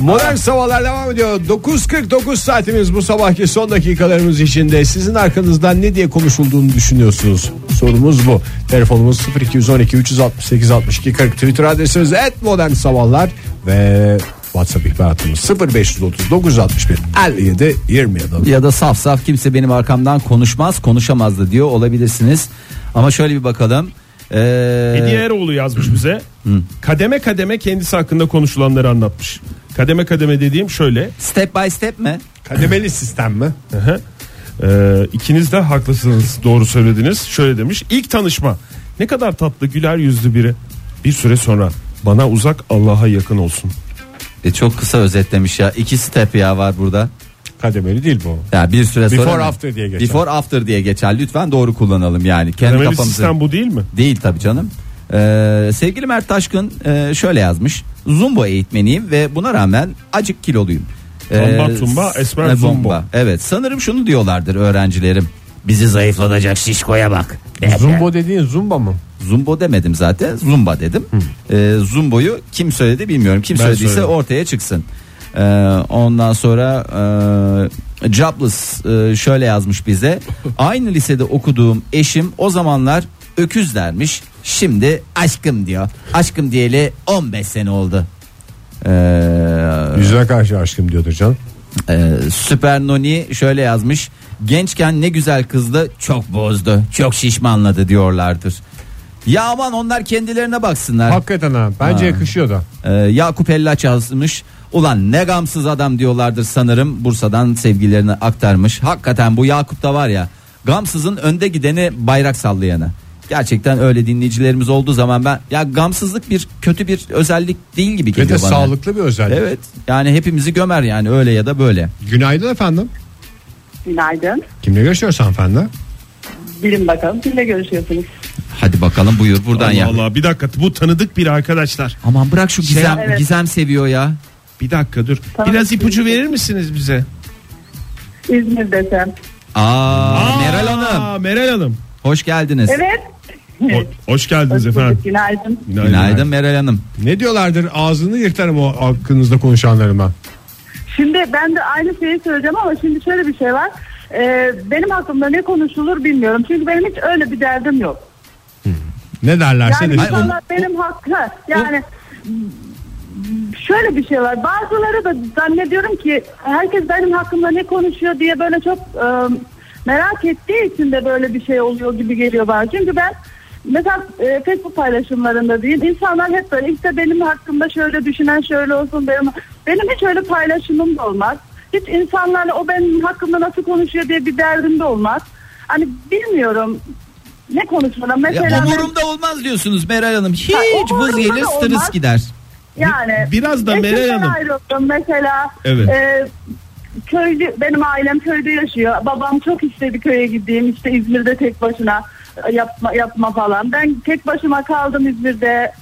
Speaker 2: Modern Sabahlar devam ediyor. 9.49 saatimiz bu sabahki son dakikalarımız içinde. Sizin arkanızdan ne diye konuşulduğunu düşünüyorsunuz? Sorumuz bu. Telefonumuz 0212 368 62 40. Twitter adresimiz et modern sabahlar ve WhatsApp ihbaratımız 0539 61 57 27.
Speaker 3: Ya da saf saf kimse benim arkamdan konuşmaz konuşamazdı diyor olabilirsiniz. Ama şöyle bir bakalım. Ee,
Speaker 4: Hediye Eroğlu yazmış bize. Kademe kademe kendisi hakkında konuşulanları anlatmış. Kademe kademe dediğim şöyle.
Speaker 3: Step by step mi?
Speaker 2: Kademeli sistem mi?
Speaker 4: Ee, ikiniz de haklısınız doğru söylediniz. Şöyle demiş ilk tanışma ne kadar tatlı güler yüzlü biri bir süre sonra bana uzak Allah'a yakın olsun.
Speaker 3: E, çok kısa özetlemiş ya. İki step ya var burada.
Speaker 2: Kademeli değil bu.
Speaker 3: Ya bir süre sonra
Speaker 2: Before
Speaker 3: ne?
Speaker 2: after diye geçer.
Speaker 3: Before after diye geçer. Lütfen doğru kullanalım yani. Kendi
Speaker 4: Kademeli
Speaker 3: kafamızı
Speaker 4: sistem bu değil mi?
Speaker 3: değil tabii canım. Ee, sevgili Mert Taşkın e, şöyle yazmış. Zumba eğitmeniyim ve buna rağmen acık kiloluyum. Ee,
Speaker 4: Tomba, tumba,
Speaker 3: s-
Speaker 4: esmer
Speaker 3: e,
Speaker 4: zumba.
Speaker 3: bomba. Evet sanırım şunu diyorlardır öğrencilerim. Bizi zayıflatacak şişkoya bak.
Speaker 2: Zumbo dediğin zumba mı?
Speaker 3: Zumbo demedim zaten. Zumba dedim. Ee, Zumbo'yu kim söyledi bilmiyorum. Kim
Speaker 4: Ben
Speaker 3: söylediyse
Speaker 4: söyledim.
Speaker 3: ortaya çıksın. Ee, ondan sonra e, Jobless e, şöyle yazmış bize. Aynı lisede okuduğum eşim o zamanlar öküz dermiş. Şimdi aşkım diyor. Aşkım diyeli 15 sene oldu. Ee,
Speaker 2: Yüzüne karşı aşkım diyordur canım.
Speaker 3: ee, Süper Noni şöyle yazmış. Gençken ne güzel kızdı çok bozdu çok şişmanladı diyorlardır. Ya aman onlar kendilerine baksınlar.
Speaker 2: Hakikaten ha. Bence yakışıyor da.
Speaker 3: Ee, Yakup Ellaç yazmış. Ulan ne gamsız adam diyorlardır sanırım. Bursa'dan sevgilerini aktarmış. Hakikaten bu Yakup da var ya. Gamsızın önde gideni bayrak sallayanı. Gerçekten öyle dinleyicilerimiz olduğu zaman ben ya gamsızlık bir kötü bir özellik değil gibi
Speaker 2: Ve
Speaker 3: geliyor
Speaker 2: de
Speaker 3: bana.
Speaker 2: sağlıklı bir özellik.
Speaker 3: Evet. Yani hepimizi gömer yani öyle ya da böyle.
Speaker 2: Günaydın efendim.
Speaker 6: Günaydın.
Speaker 2: Kimle görüşüyoruz hanımefendi?
Speaker 6: Bilin bakalım kimle görüşüyorsunuz?
Speaker 3: Hadi bakalım buyur buradan
Speaker 4: Allah Şey-
Speaker 3: ya.
Speaker 4: Allah bir dakika bu tanıdık biri arkadaşlar.
Speaker 3: Aman bırak şu gizem
Speaker 6: Evet.
Speaker 3: gizem seviyor ya.
Speaker 4: Bir dakika dur.
Speaker 6: Tamam.
Speaker 4: Biraz ipucu verir misiniz bize?
Speaker 6: İzmir desem.
Speaker 3: Aa, Meral Hanım
Speaker 4: Aa, Meral Hanım.
Speaker 3: hoş geldiniz.
Speaker 6: Evet.
Speaker 4: Ho- hoş geldiniz
Speaker 6: Hoş bulduk,
Speaker 4: efendim.
Speaker 6: Günaydın.
Speaker 3: Günaydın Meral Hanım.
Speaker 2: Ne diyorlardır ağzını yırtarım o hakkınızda konuşanlarıma.
Speaker 6: Şimdi ben de aynı şeyi söyleyeceğim ama şimdi şöyle bir şey var. Ee, benim hakkımda ne konuşulur bilmiyorum. Çünkü benim hiç öyle bir derdim yok.
Speaker 2: Ne derlerse
Speaker 6: Yani
Speaker 2: desinler.
Speaker 6: insanlar benim hakkı. Yani şöyle bir şey var. Bazıları da zannediyorum ki herkes benim hakkımda ne konuşuyor diye böyle çok e, merak ettiği için de böyle bir şey oluyor gibi geliyor bana. Çünkü ben mesela e, Facebook paylaşımlarında diyeyim insanlar hep böyle işte benim hakkımda şöyle düşünen şöyle olsun benim benim hiç öyle paylaşımım da olmaz. Hiç insanlarla o benim hakkımda nasıl konuşuyor diye bir derdim de olmaz. Hani bilmiyorum ne konuşmadan
Speaker 3: Ya,
Speaker 6: mesela ben-
Speaker 3: umurumda olmaz diyorsunuz Meral Hanım.
Speaker 6: Ha,
Speaker 3: Hiç
Speaker 6: umurumda
Speaker 3: vız gelir
Speaker 6: da
Speaker 3: stres
Speaker 6: olmaz.
Speaker 3: gider.
Speaker 6: Yani
Speaker 4: Biraz da
Speaker 6: eşimden
Speaker 4: Meral Hanım.
Speaker 6: ayrıldım mesela.
Speaker 4: Evet.
Speaker 6: Ee, köylü benim ailem köyde yaşıyor. Babam çok istedi köye gideyim. İşte İzmir'de tek başına e, yapma yapma falan. Ben tek başıma kaldım İzmir'de.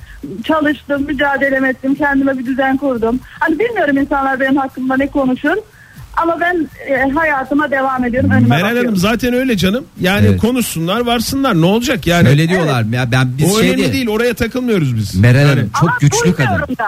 Speaker 6: Çalıştım, mücadele ettim, kendime bir düzen kurdum. Hani bilmiyorum insanlar benim hakkımda ne konuşur. Ama ben e, hayatıma devam ediyorum. Önüme
Speaker 4: Meral
Speaker 6: bakıyorum.
Speaker 4: Hanım zaten öyle canım. Yani
Speaker 3: Evet.
Speaker 4: konuşsunlar varsınlar ne olacak yani.
Speaker 3: Öyle diyorlar mı ya ben biz
Speaker 4: o
Speaker 3: şey
Speaker 4: önemli
Speaker 3: diye-
Speaker 4: değil. oraya takılmıyoruz biz.
Speaker 3: Meral
Speaker 4: Yani-
Speaker 3: Hanım çok
Speaker 6: Ama
Speaker 3: güçlü kadın.
Speaker 6: duymuyorum Da.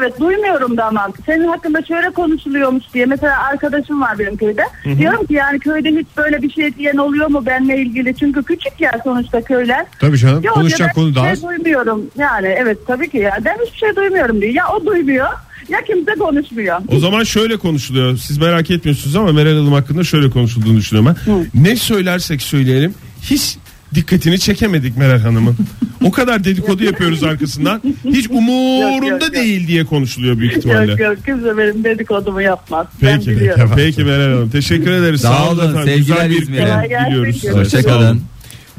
Speaker 6: Evet duymuyorum da ama senin hakkında şöyle konuşuluyormuş diye mesela arkadaşım var benim köyde. Diyorum ki yani köyde hiç böyle bir şey diyen oluyor mu benimle ilgili? Çünkü küçük yer sonuçta köyler.
Speaker 2: Tabii canım
Speaker 6: Yok, ya ben
Speaker 2: konuşacak konu daha
Speaker 6: hiçbir
Speaker 2: az.
Speaker 6: şey duymuyorum. Yani evet tabii ki ya. Ben hiçbir şey duymuyorum diyor. Ya o duymuyor ya kimse konuşmuyor.
Speaker 4: O zaman şöyle konuşuluyor. Siz merak etmiyorsunuz ama Meral Hanım hakkında şöyle konuşulduğunu düşünüyorum ben. Ne söylersek söyleyelim hiç dikkatini çekemedik Meral Hanım'ın. o kadar dedikodu yapıyoruz arkasından. Hiç
Speaker 6: Yok, yok,
Speaker 4: umurunda
Speaker 6: yok.
Speaker 4: değil diye konuşuluyor büyük
Speaker 6: Yok
Speaker 4: ihtimalle.
Speaker 6: yok kimse benim dedikodumu yapmaz.
Speaker 4: Peki.
Speaker 6: ben biliyorum.
Speaker 4: Peki Meral Hanım. Teşekkür ederiz.
Speaker 3: Sağ
Speaker 4: Sağ olun
Speaker 3: olun,
Speaker 4: efendim.
Speaker 3: sevgiler
Speaker 4: Güzel bir
Speaker 3: İzmir'e.
Speaker 4: gün
Speaker 6: Kolay gelsin.
Speaker 4: diliyoruz. size.
Speaker 6: Hoşça
Speaker 4: Sağ olun.
Speaker 3: kalın.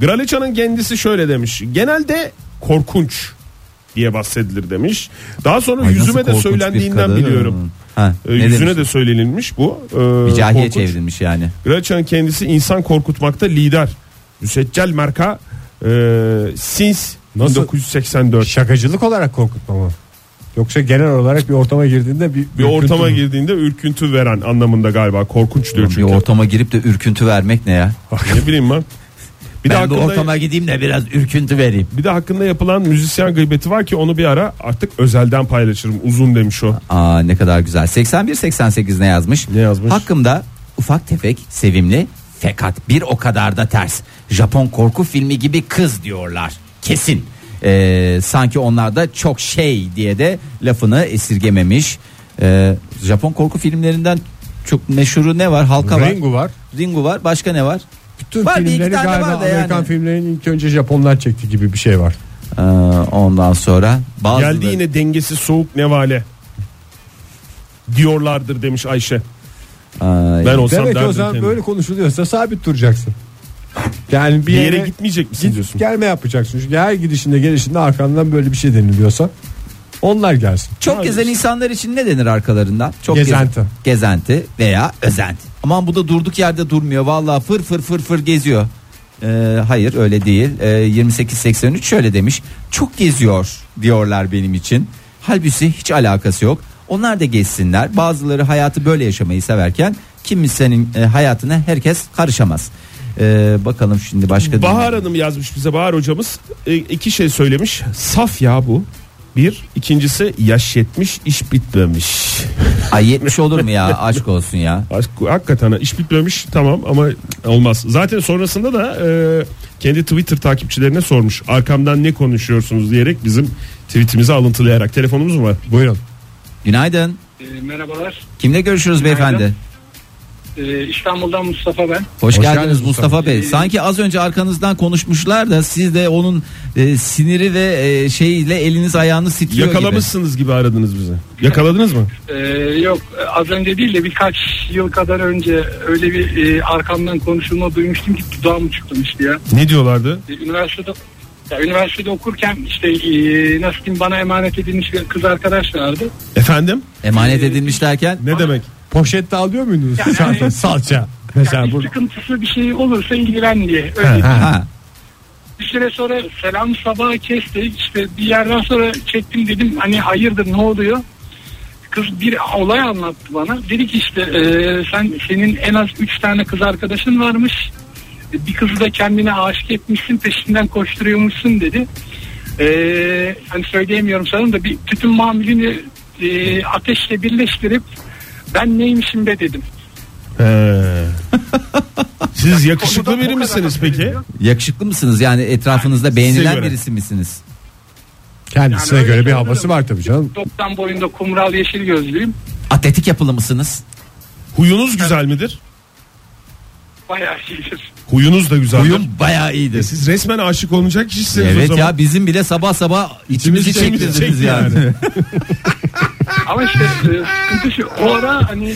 Speaker 4: Gralica'nın kendisi şöyle demiş. Genelde korkunç diye bahsedilir demiş. Daha sonra
Speaker 3: Ay, nasıl
Speaker 4: yüzüme de
Speaker 3: korkunç bir
Speaker 4: söylendiğinden
Speaker 3: kadın.
Speaker 4: biliyorum.
Speaker 3: Ha,
Speaker 4: Ee,
Speaker 3: ne
Speaker 4: yüzüne
Speaker 3: demiş?
Speaker 4: de söylenilmiş bu. Ee,
Speaker 3: Bir cahiye
Speaker 4: korkunç.
Speaker 3: çevrilmiş yani.
Speaker 4: Graçan kendisi insan korkutmakta lider. Müseccel marka e, since
Speaker 2: Nasıl?
Speaker 4: 1984.
Speaker 2: Şakacılık olarak korkutma mı? Yoksa genel olarak bir ortama girdiğinde bir,
Speaker 4: bir ortama
Speaker 2: ürküntü mü?
Speaker 4: girdiğinde ürküntü veren anlamında galiba korkunç diyor
Speaker 3: Bir
Speaker 4: çünkü.
Speaker 3: ortama girip de ürküntü vermek ne ya?
Speaker 4: ne bileyim ben. Bir de,
Speaker 3: ben de
Speaker 4: hakkında,
Speaker 3: ortama gideyim de biraz ürküntü vereyim.
Speaker 4: bir de hakkında yapılan müzisyen gıybeti var ki onu bir ara artık özelden paylaşırım. Uzun demiş o.
Speaker 3: Aa ne kadar güzel. 81 88 ne yazmış?
Speaker 4: Ne yazmış?
Speaker 3: Hakkımda ufak tefek, sevimli fakat bir o kadar da ters. Japon korku filmi gibi kız diyorlar. Kesin. Ee, sanki onlar da çok şey diye de lafını esirgememiş. Ee, Japon korku filmlerinden çok meşhuru ne var? Halka var.
Speaker 2: Ringu var.
Speaker 3: Ringu var. Başka ne var?
Speaker 2: Bütün
Speaker 3: Var bir iki
Speaker 2: filmleri
Speaker 3: tane
Speaker 2: galiba
Speaker 3: var da yani.
Speaker 2: Amerikan filmlerinin ilk önce Japonlar çekti gibi bir şey var.
Speaker 3: Ee, ondan sonra bazıları.
Speaker 4: Geldi yine dengesiz soğuk nevale diyorlardır demiş Ayşe.
Speaker 3: Ay.
Speaker 4: Ben olsam
Speaker 2: Demek ki
Speaker 4: derdim
Speaker 2: o zaman
Speaker 4: kendime.
Speaker 2: böyle konuşuluyorsa sabit duracaksın. Yani bir,
Speaker 4: bir yere gitmeyecek misin
Speaker 2: git-
Speaker 4: diyorsun.
Speaker 2: gelme yapacaksın. Çünkü her gidişinde gelişinde arkandan böyle bir şey deniliyorsa onlar gelsin.
Speaker 3: Çok gezen insanlar için ne denir arkalarından? Çok
Speaker 2: Gezenti.
Speaker 3: gez- gezenti veya özenti. Aman bu da durduk yerde durmuyor. Vallahi fır fır fır fır geziyor. Ee, hayır öyle değil. Ee, 2883 şöyle demiş. Çok geziyor diyorlar benim için. Halbuki hiç alakası yok. Onlar da gezsinler. Bazıları hayatı böyle yaşamayı severken kimsenin e, hayatına herkes karışamaz. Ee, bakalım şimdi başka
Speaker 4: Bahar Hanım yazmış bize Bahar hocamız e, iki şey söylemiş. Saf ya bu. Bir, ikincisi yaş yetmiş iş bitmemiş.
Speaker 3: Ay 70 olur mu ya? Aşk olsun ya.
Speaker 4: Hak- Hakikaten ha, iş bitmemiş tamam ama olmaz. Zaten sonrasında da e, kendi Twitter takipçilerine sormuş. Arkamdan ne konuşuyorsunuz diyerek bizim tweetimizi alıntılayarak. Telefonumuz mu var?
Speaker 2: Buyurun.
Speaker 3: Günaydın.
Speaker 7: Ee, merhabalar.
Speaker 3: Kimle görüşürüz
Speaker 7: Günaydın.
Speaker 3: beyefendi?
Speaker 7: Ee, İstanbul'dan Mustafa ben.
Speaker 3: Hoş,
Speaker 2: Hoş
Speaker 3: geldiniz,
Speaker 2: geldiniz
Speaker 3: Mustafa, Bey. Sanki az önce arkanızdan konuşmuşlar da siz de onun e, siniri ve e, şeyle eliniz ayağınız titriyor gibi.
Speaker 4: Yakalamışsınız gibi aradınız bizi. Yakaladınız mı?
Speaker 7: Ee, yok az önce değil de birkaç yıl kadar önce öyle bir e, arkamdan konuşulma duymuştum ki dudağım uçuklamıştı ya.
Speaker 4: Ne diyorlardı?
Speaker 7: Ee, üniversitede ya üniversitede okurken işte e, nasıl diyeyim bana emanet edilmiş bir kız arkadaş vardı.
Speaker 4: Efendim?
Speaker 3: Emanet
Speaker 4: E,
Speaker 3: edilmiş derken
Speaker 4: Ne demek?
Speaker 2: Poşette alıyor muydunuz? Çanta, salça. Mesela
Speaker 7: Yani bir
Speaker 2: burada.
Speaker 7: sıkıntısı bir şey olursa ilgilen diye. Öyle
Speaker 3: ha
Speaker 7: bir süre sonra selam sabahı kesti. İşte bir yerden sonra çektim dedim hani hayırdır ne oluyor? Kız bir olay anlattı bana. Dedi ki işte e, sen senin en az 3 tane kız arkadaşın varmış. E, Bir kızı da kendine aşık etmişsin peşinden koşturuyormuşsun dedi. E, hani söyleyemiyorum sanırım da bir tütün mamulünü e, ateşle birleştirip ben neymişim be dedim.
Speaker 4: Ee, Siz yakışıklı
Speaker 7: Konudan o
Speaker 4: biri
Speaker 7: kadar
Speaker 4: misiniz peki?
Speaker 7: bahsediyor.
Speaker 3: yakışıklı mısınız yani etrafınızda beğenilen
Speaker 4: göre.
Speaker 3: birisi misiniz?
Speaker 2: Kendisine
Speaker 7: Yani öyle
Speaker 2: göre bir
Speaker 7: söyledim.
Speaker 2: havası var tabii canım.
Speaker 7: 90 boyunda kumral yeşil gözlüyüm.
Speaker 3: Atletik yapılı mısınız?
Speaker 4: Huyunuz güzel midir?
Speaker 7: Bayağı iyidir.
Speaker 4: Huyunuz da güzel.
Speaker 3: Uyum bayağı iyidir.
Speaker 4: E, Siz resmen aşık olunacak kişisiniz o
Speaker 3: Evet
Speaker 4: zaman.
Speaker 3: ya bizim bile sabah sabah içimizi
Speaker 4: içimizi
Speaker 3: çektirdiniz
Speaker 4: çekti
Speaker 3: yani.
Speaker 4: yani.
Speaker 7: Ama işte e, sıkıntı şu. O ara hani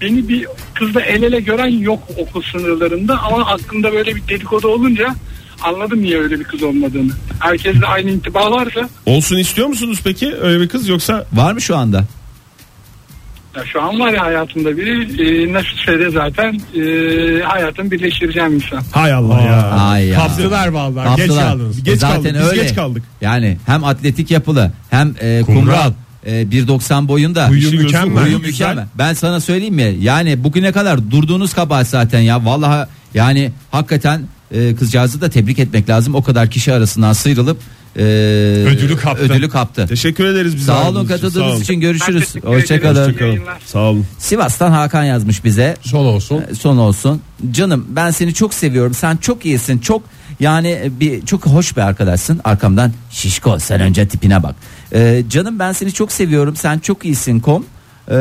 Speaker 7: beni bir kızla el ele gören yok okul sınırlarında ama aklımda böyle bir dedikodu olunca anladım niye öyle bir kız olmadığını. Herkesle aynı intiba varsa
Speaker 4: Olsun istiyor musunuz peki öyle bir kız yoksa
Speaker 3: Var mı şu anda?
Speaker 7: ya şu an var ya hayatımda biri e, nasıl de zaten e, hayatın birleştireceğim insan.
Speaker 4: hay Allah ya.
Speaker 3: Ay ya.
Speaker 2: Kaptılar vallahi. Geç
Speaker 3: Kaptılar.
Speaker 2: kaldınız.
Speaker 4: Geç
Speaker 3: E Zaten
Speaker 4: kaldık. Biz
Speaker 3: öyle.
Speaker 4: geç kaldık.
Speaker 3: Yani hem atletik yapılı hem e, kumral. e, 1.90 boyunda.
Speaker 2: Huyu
Speaker 4: İşi gözü
Speaker 2: mükemmel.
Speaker 4: huyu
Speaker 3: Huyu mükemmel. Ben sana söyleyeyim mi? Yani bugüne kadar durduğunuz kabahat zaten ya. Vallahi yani hakikaten e, kızcağızı da tebrik etmek lazım. O kadar kişi arasından sıyrılıp e,
Speaker 4: Ödülü kaptı.
Speaker 3: ödülü kaptı.
Speaker 4: Teşekkür ederiz bize.
Speaker 3: Sağ olun katıldığınız için görüşürüz.
Speaker 7: Ben teşekkür
Speaker 3: Hoşçakalın.
Speaker 7: ederim. Hoşça kalın.
Speaker 4: Sağ olun.
Speaker 3: Sivas'tan Hakan yazmış bize.
Speaker 2: Son olsun.
Speaker 3: Son olsun. Canım ben seni çok seviyorum. Sen çok iyisin. Çok yani e, bir çok hoş bir arkadaşsın. Arkamdan şişko sen önce tipine bak. Ee, canım ben seni çok seviyorum. Sen çok iyisin kom. Ee,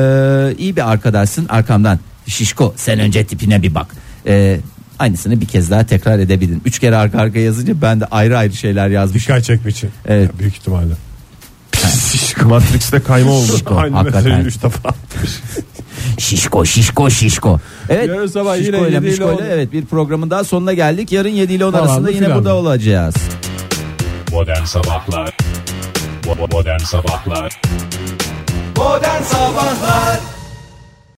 Speaker 3: iyi bir arkadaşsın. Arkamdan şişko sen önce tipine bir bak. Ee, aynısını bir kez daha tekrar edebilirim. Üç kere arka arkaya yazınca ben de ayrı ayrı şeyler yazmışım.
Speaker 2: Dikkat çekmek için.
Speaker 3: Evet.
Speaker 2: Ya, Büyük ihtimalle.
Speaker 4: Matrix'te kayma oldu.
Speaker 3: Şişko,
Speaker 2: Aynı
Speaker 3: hakikaten.
Speaker 2: meseleyi üç defa.
Speaker 3: Şişko şişko şişko. Evet.
Speaker 2: Yarın sabah
Speaker 3: şişko
Speaker 2: yine
Speaker 3: ile
Speaker 2: yedi ile
Speaker 3: mişko ile,
Speaker 2: on.
Speaker 3: evet bir programın daha sonuna geldik. Yarın 7 ile 10
Speaker 2: Falan
Speaker 3: arasında yine
Speaker 2: filan.
Speaker 3: burada olacağız.
Speaker 8: Modern Sabahlar Bo- bo- Modern Sabahlar
Speaker 9: Modern Sabahlar